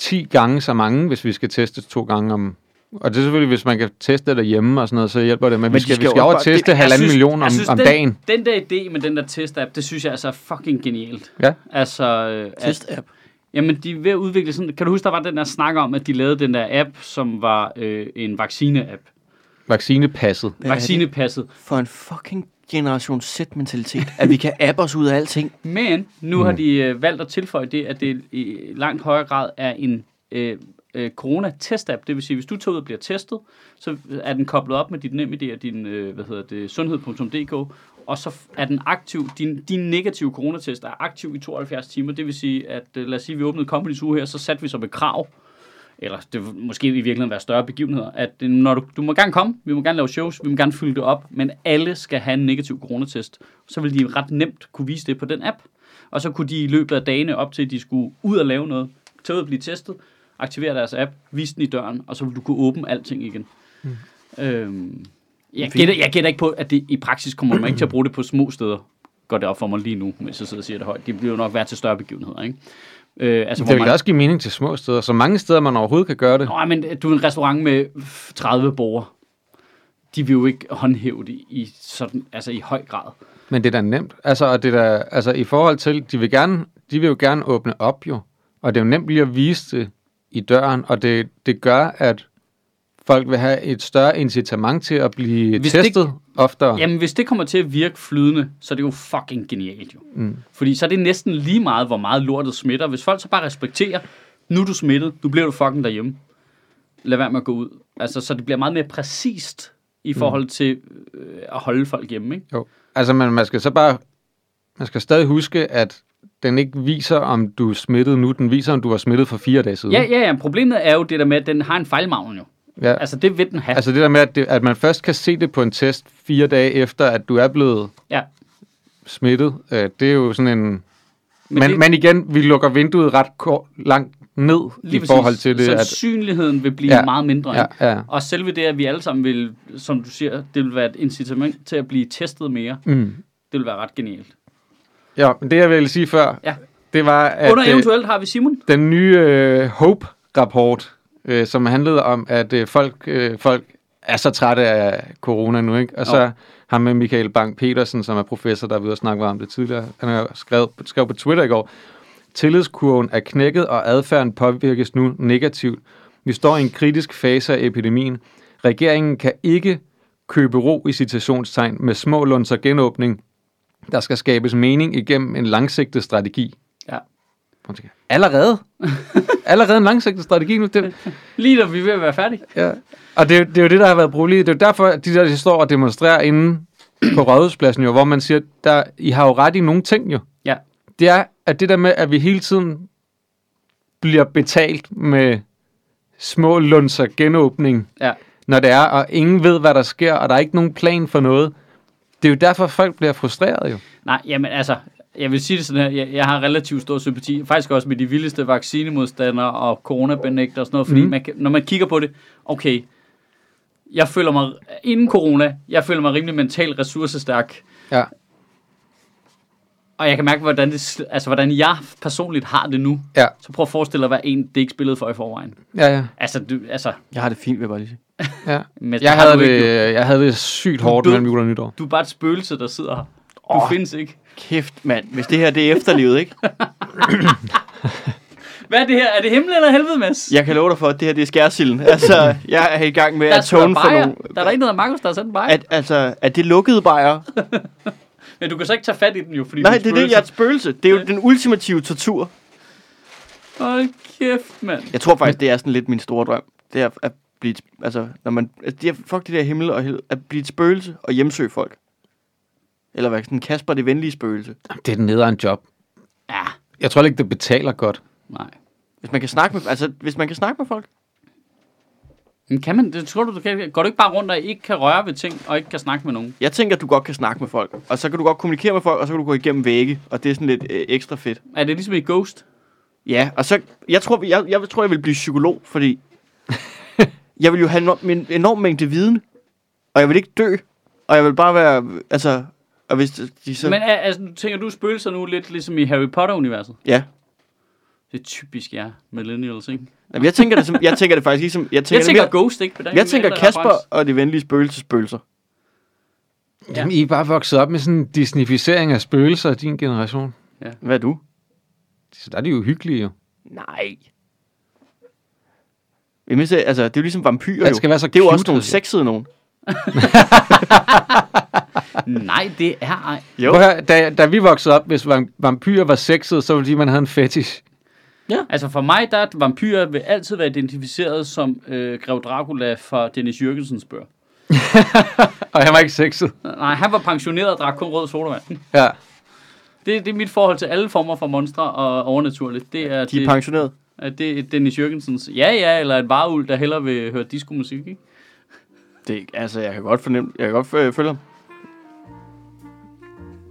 Speaker 3: 10 gange så mange, hvis vi skal teste to gange om... Og det er selvfølgelig, hvis man kan teste det derhjemme og sådan noget, så hjælper det. Men, men vi
Speaker 1: de
Speaker 3: skal,
Speaker 1: skal
Speaker 3: vi
Speaker 1: jo
Speaker 3: skal
Speaker 1: også
Speaker 3: over og
Speaker 1: bare- det-
Speaker 3: teste
Speaker 1: jeg
Speaker 3: halvanden million om,
Speaker 2: jeg synes,
Speaker 3: om
Speaker 2: den,
Speaker 3: dagen.
Speaker 2: Den der idé med den der test-app, det synes jeg altså er fucking genialt.
Speaker 3: Ja.
Speaker 2: Altså, øh, at,
Speaker 1: Test-app.
Speaker 2: jamen, de er ved at udvikle sådan... Kan du huske, der var den der snak om, at de lavede den der app, som var øh, en vaccine-app?
Speaker 3: Vaccinepasset.
Speaker 1: er det?
Speaker 2: Vaccinepasset.
Speaker 1: For en fucking generation Z-mentalitet, at vi kan appe os ud af alting.
Speaker 2: Men nu har de øh, valgt at tilføje det, at det i langt højere grad er en øh, øh, corona-test-app. Det vil sige, hvis du tager ud og bliver testet, så er den koblet op med dit NemID og din øh, hvad hedder det, sundhed.dk, og så f- er den aktiv, din, din negative coronatest er aktiv i 72 timer. Det vil sige, at øh, lad os sige, vi åbnede Companies uge her, så satte vi som et krav, eller det vil måske i virkeligheden være større begivenheder, at øh, når du, du må gerne komme, vi må gerne lave shows, vi må gerne fylde det op, men alle skal have en negativ coronatest. Så vil de ret nemt kunne vise det på den app. Og så kunne de i løbet af dagene op til, at de skulle ud og lave noget, tage ud og blive testet, aktivere deres app, vise den i døren, og så vil du kunne åbne alting igen. Mm. Øhm, jeg, gætter, jeg gætter ikke på, at det i praksis kommer man ikke til at bruge det på små steder. Går det op for mig lige nu, mens jeg sidder og siger det højt. Det bliver jo nok værd til større begivenheder, ikke? Øh, altså, hvor
Speaker 3: Det vil
Speaker 2: man-
Speaker 3: også give mening til små steder. Så mange steder, man overhovedet kan gøre det.
Speaker 2: Nå, men øh, du er en restaurant med 30 borgere. De vil jo ikke håndhæve det i, sådan, altså i høj grad.
Speaker 3: Men det er da nemt. Altså, og det er da, altså i forhold til, de vil, gerne, de vil jo gerne åbne op jo. Og det er jo nemt lige at vise det i døren, og det, det gør, at folk vil have et større incitament til at blive
Speaker 2: Hvis
Speaker 3: Hvis
Speaker 2: det
Speaker 3: testet det... oftere.
Speaker 2: Jamen, hvis det kommer til at virke flydende, så er det jo fucking genialt jo. Mm. Fordi så er det næsten lige meget, hvor meget lortet smitter. Hvis folk så bare respekterer, nu er du smittet, nu bliver du fucking derhjemme. Lad være med at gå ud. Altså, så det bliver meget mere præcist i
Speaker 3: Mm.
Speaker 2: forhold til øh, at holde folk hjemme, ikke?
Speaker 3: Jo. Altså, man, man skal så bare... Man skal stadig huske, at den ikke viser, om du er smittet nu. Den viser, om du var smittet for fire dage siden.
Speaker 2: Ja, ja, ja. Problemet er jo det der med, at den har en fejlmagn jo.
Speaker 3: ja. Altså,
Speaker 2: Altså, det vil den have.
Speaker 3: altså det der med, at, det, at man først kan se det på en test fire dage efter, at du er blevet
Speaker 2: ja.
Speaker 3: smittet, øh, det er jo sådan en... Men, men,
Speaker 2: det-
Speaker 3: det... men igen, vi lukker vinduet ret kort, langt ned i
Speaker 2: præcis.
Speaker 3: forhold til det. At,
Speaker 2: Sandsynligheden vil blive ja,
Speaker 3: Ja,
Speaker 2: meget mindre.
Speaker 3: ja,
Speaker 2: ikke?
Speaker 3: ja.
Speaker 2: Og selve det, at vi alle sammen vil, som du siger, det vil være et incitament til at blive testet mere,
Speaker 3: mm.
Speaker 2: det vil være ret genialt.
Speaker 3: Ja, men det jeg ville sige før,
Speaker 2: Ja.
Speaker 3: det var,
Speaker 2: At,
Speaker 3: at
Speaker 2: Under
Speaker 3: øh,
Speaker 2: eventuelt har vi Simon.
Speaker 3: den nye øh, Hope-rapport, øh, som handlede om, at øh, folk, øh, folk er så trætte af corona nu, ikke? Og så
Speaker 2: Jo.
Speaker 3: ham med Michael Bang-Petersen, som er professor, der er ved at snakke om det tidligere, han har skrevet, skrev på Twitter i går, tillidskurven er knækket, og adfærden påvirkes nu negativt. Vi står i en kritisk fase af epidemien. Regeringen kan ikke købe ro i citationstegn med små lunds og genåbning. Der skal skabes mening igennem en langsigtet strategi.
Speaker 2: Ja.
Speaker 3: Prøv at tænke. Allerede? Allerede en langsigtet strategi nu? Det,
Speaker 2: Lige da vi er ved at være færdige.
Speaker 3: ja. Og det, er jo- det er jo det, der har været problemet. Det er jo derfor, at de der de står og demonstrerer inde på Rådhuspladsen, jo, hvor man siger, der, I har jo ret i nogle ting jo.
Speaker 2: Ja.
Speaker 3: Det er, at det der med, at vi hele tiden bliver betalt med små lunser genåbning,
Speaker 2: Ja.
Speaker 3: når det er, og ingen ved, hvad der sker, og der er ikke nogen plan for noget. Det er jo derfor, folk bliver frustreret jo.
Speaker 2: Nej, jamen altså, jeg vil sige det sådan her, jeg, jeg har relativt stor sympati, faktisk også med de vildeste vaccinemodstandere og coronabenægter og sådan noget, fordi
Speaker 3: Mhm.
Speaker 2: mm. man, kan- når man kigger på det, okay, jeg føler mig, inden corona, jeg føler mig rimelig mentalt ressourcestærk,
Speaker 3: Ja.
Speaker 2: og jeg kan mærke, hvordan, det, sl- altså, hvordan jeg personligt har det nu,
Speaker 3: Ja,
Speaker 2: så prøv at forestille dig, hvad en det ikke spillede for i forvejen.
Speaker 3: ja, ja.
Speaker 2: Altså, du, altså
Speaker 1: Jeg har det fint, vil jeg bare lige sige.
Speaker 3: ja.
Speaker 2: men
Speaker 3: Jeg
Speaker 2: har
Speaker 3: havde,
Speaker 2: du
Speaker 3: det,
Speaker 2: ikke nu.
Speaker 3: jeg havde det sygt hårdt
Speaker 2: død.
Speaker 3: mellem jul og nytår.
Speaker 2: du er bare et spøgelse, der sidder her. Du oh. findes ikke.
Speaker 1: Kæft, mand. Hvis det her, det er efterlivet, ikke?
Speaker 2: Hvad er det her? Er det himmel eller helvede, Mads?
Speaker 1: Jeg kan love dig for, at det her, det er skærsilden. Altså, jeg er i gang med
Speaker 2: der er
Speaker 1: at
Speaker 2: sgu da
Speaker 1: tone for
Speaker 2: bajer.
Speaker 1: nogle...
Speaker 2: Der er der ikke noget af Markus, der har sendt en bajer.
Speaker 1: At, altså, er det lukkede bajer?
Speaker 2: Men du kan så ikke tage fat i den jo, fordi
Speaker 1: Nej,
Speaker 2: du
Speaker 1: det er det, jeg er et spøgelse. Det er jo den ultimative tortur.
Speaker 2: spøgelse. Hold kæft, mand.
Speaker 1: Jeg tror faktisk, det er sådan lidt min store drøm. Det er at blive... et- Altså, når man... Altså, det er, fuck det der himmel og helvede. At blive et spøgelse og hjemsøge folk. Eller hvad? Sådan Kasper, det venlige spøgelse.
Speaker 3: Jamen, Det er den nederen job.
Speaker 2: Ja,
Speaker 3: Jeg tror heller ikke, det betaler godt.
Speaker 2: nej.
Speaker 1: Hvis man kan snakke med... Altså, hvis man kan snakke med folk.
Speaker 2: Men kan man, det tror du, du kan, går du ikke bare rundt og ikke kan røre ved ting, og ikke kan snakke med nogen?
Speaker 1: Jeg tænker, at du godt kan snakke med folk. Og så kan du godt kommunikere med folk, og så kan du gå igennem vægge. Og det er sådan lidt øh, ekstra fedt.
Speaker 2: Er det ligesom i Ghost?
Speaker 1: Ja, og så... Jeg tror, jeg, jeg, tror, jeg vil blive psykolog, fordi... jeg vil jo have en enorm, en enorm mængde viden. Og jeg vil ikke dø. Og jeg vil bare være... Altså, og hvis de så...
Speaker 2: Men al- altså, tænker du spøgelser nu lidt ligesom i Harry Potter-universet?
Speaker 1: Ja.
Speaker 2: Det er typisk jer, millennials, ikke?
Speaker 1: Jamen, jeg tænker det, som, jeg tænker det faktisk ligesom... Jeg tænker,
Speaker 2: Jeg
Speaker 1: det
Speaker 2: tænker
Speaker 1: mere-
Speaker 2: Ghost, ikke? På den
Speaker 1: jeg tænker
Speaker 2: reference.
Speaker 1: Kasper og det venlige spøgelsespøgelser.
Speaker 3: Jamen, I er bare vokset op med sådan en disnificering af spøgelser af din generation.
Speaker 1: Hvad er du?
Speaker 3: Så der er de jo hyggelige jo.
Speaker 1: Nej. Jamen, så- altså, det er jo ligesom vampyrer,
Speaker 3: Det skal
Speaker 1: jo.
Speaker 3: være så
Speaker 1: det er jo
Speaker 3: cute,
Speaker 1: også nogle
Speaker 3: altså.
Speaker 1: sexede nogen.
Speaker 2: Nej, det er ej.
Speaker 1: Jo.
Speaker 3: Prøv at høre, da, da vi voksede op, hvis vam- vampyrer var sexet, så var det fordi, man havde en fetish. (laughs)
Speaker 2: Altså for mig, der er vampyrer vil altid være identificeret som øh, Grev Dracula fra Dennis Jørgensens bøger.
Speaker 3: Og han var ikke sexet.
Speaker 2: Nej, han var pensioneret og drak kun rød sodavand. (laughs)
Speaker 3: Ja.
Speaker 2: Det, det er mit forhold til alle former for monstre og overnaturligt. Det er,
Speaker 1: De er
Speaker 2: det,
Speaker 1: pensioneret.
Speaker 2: at det er Dennis Jørgensens ja ja, eller et varul, der hellere vil høre diskomusik, ikke?
Speaker 1: Det, altså, jeg kan godt fornemme, jeg kan godt øh, følge ham.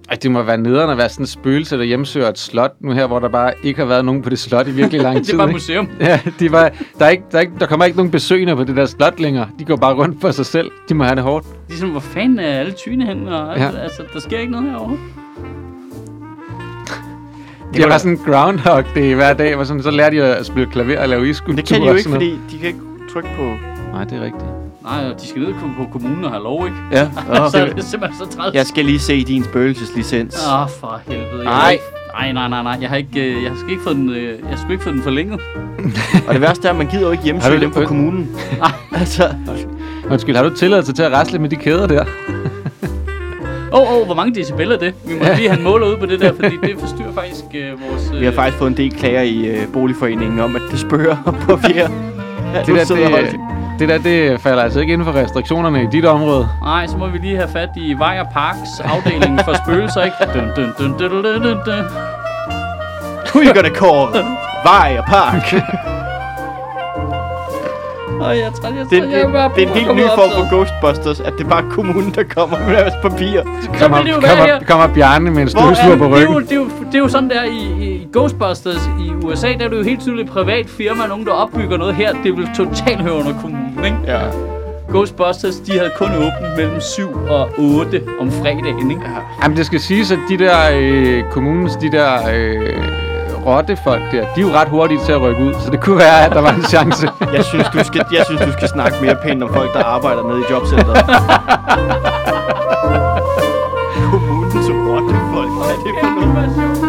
Speaker 3: Ej, det må være nederen at være sådan en spøgelse, der hjemsøger et slot nu her, hvor der bare ikke har været nogen på det slot i
Speaker 1: (laughs)
Speaker 3: virkelig lang
Speaker 2: Det
Speaker 3: tid.
Speaker 2: er bare et
Speaker 3: ikke?
Speaker 2: museum.
Speaker 3: Ja, de var, der, er ikke, der, er ikke, der kommer ikke nogen besøgende på det der slot længere. De går bare rundt for sig selv. De må have det hårdt.
Speaker 2: De er sådan, Ligesom, hvor fanden er alle tyne hen? Og, ja.
Speaker 3: Ja.
Speaker 2: Altså, der sker ikke noget herovre.
Speaker 3: Det var sådan en groundhog day hver dag, hvor sådan, så lærte de at spille klaver og lave iskulpturer.
Speaker 1: Det kan de jo
Speaker 3: og
Speaker 1: ikke,
Speaker 3: sådan noget.
Speaker 1: fordi de kan ikke trykke på...
Speaker 3: Nej, det er rigtigt.
Speaker 2: Nej, og de skal ned på kommunen og have lov, ikke?
Speaker 1: Ja.
Speaker 2: Oh, (laughs) så er
Speaker 1: Okay.
Speaker 2: det simpelthen så træls.
Speaker 1: Jeg skal lige se din spøgelseslicens.
Speaker 2: Åh, oh, for helvede. Jeg
Speaker 1: Nej.
Speaker 2: har ikke- Nej, nej, nej, nej. Jeg har ikke, øh, jeg har sgu ikke fået den, øh, jeg har sgu ikke fået den forlænget.
Speaker 1: Og det værste er, at man gider jo ikke
Speaker 3: Har
Speaker 1: hjemmesøge
Speaker 3: du-
Speaker 1: dem på kommunen. (laughs) altså,
Speaker 3: Undskyld, har du tilladelse til at rasle med de kæder der?
Speaker 2: Åh, oh, oh, hvor mange decibel er det? Vi må lige have en måler ud på det der, fordi det forstyrrer faktisk øh, vores... Øh,
Speaker 1: vi har faktisk fået en del klager i øh, boligforeningen om, at det spørger (laughs) på fjerde. Ja,
Speaker 3: Det
Speaker 1: nu
Speaker 3: der,
Speaker 1: sidder
Speaker 3: det,
Speaker 1: Holger.
Speaker 3: det der, det falder altså ikke inden for restriktionerne i dit område.
Speaker 2: Nej, så må vi lige have fat i Vejer Parks afdeling for
Speaker 1: (laughs)
Speaker 2: spøgelser, ikke? Dun, dun, dun, dun, dun, dun, dun, dun.
Speaker 1: We're gonna call Vej og Park.
Speaker 2: Åh, jeg tror, jeg,
Speaker 1: Det,
Speaker 2: tror,
Speaker 1: det,
Speaker 2: jeg bare
Speaker 1: det er en helt ny form for Ghostbusters, at det er bare kommunen, der kommer med deres papirer.
Speaker 2: Så vil det jo være her.
Speaker 3: kommer, kommer Bjarne med en
Speaker 2: Hvor er
Speaker 3: støvsuger
Speaker 2: det?
Speaker 3: på
Speaker 2: Det er, jo,
Speaker 3: ryggen.
Speaker 2: det, er jo, det er jo sådan der i, i- i Ghostbusters i USA, der er det jo helt tydeligt et privat firma, nogen der opbygger noget her, det vil totalt høre under kommunen, ikke?
Speaker 1: Ja.
Speaker 2: Ghostbusters, de havde kun åbent mellem 7 og 8 om fredagen, ikke? Ja.
Speaker 3: Jamen, det skal siges, at de der øh, kommunens, de der øh, rottefolk der, de er jo ret hurtige til at rykke ud, så det kunne være, at der var en chance.
Speaker 1: Jeg synes, du skal, jeg synes, du skal snakke mere pænt om folk, der arbejder nede i jobcenteret. (laughs) Kommunens rotte folk. Hvad er det for noget?
Speaker 2: Det var sjovt.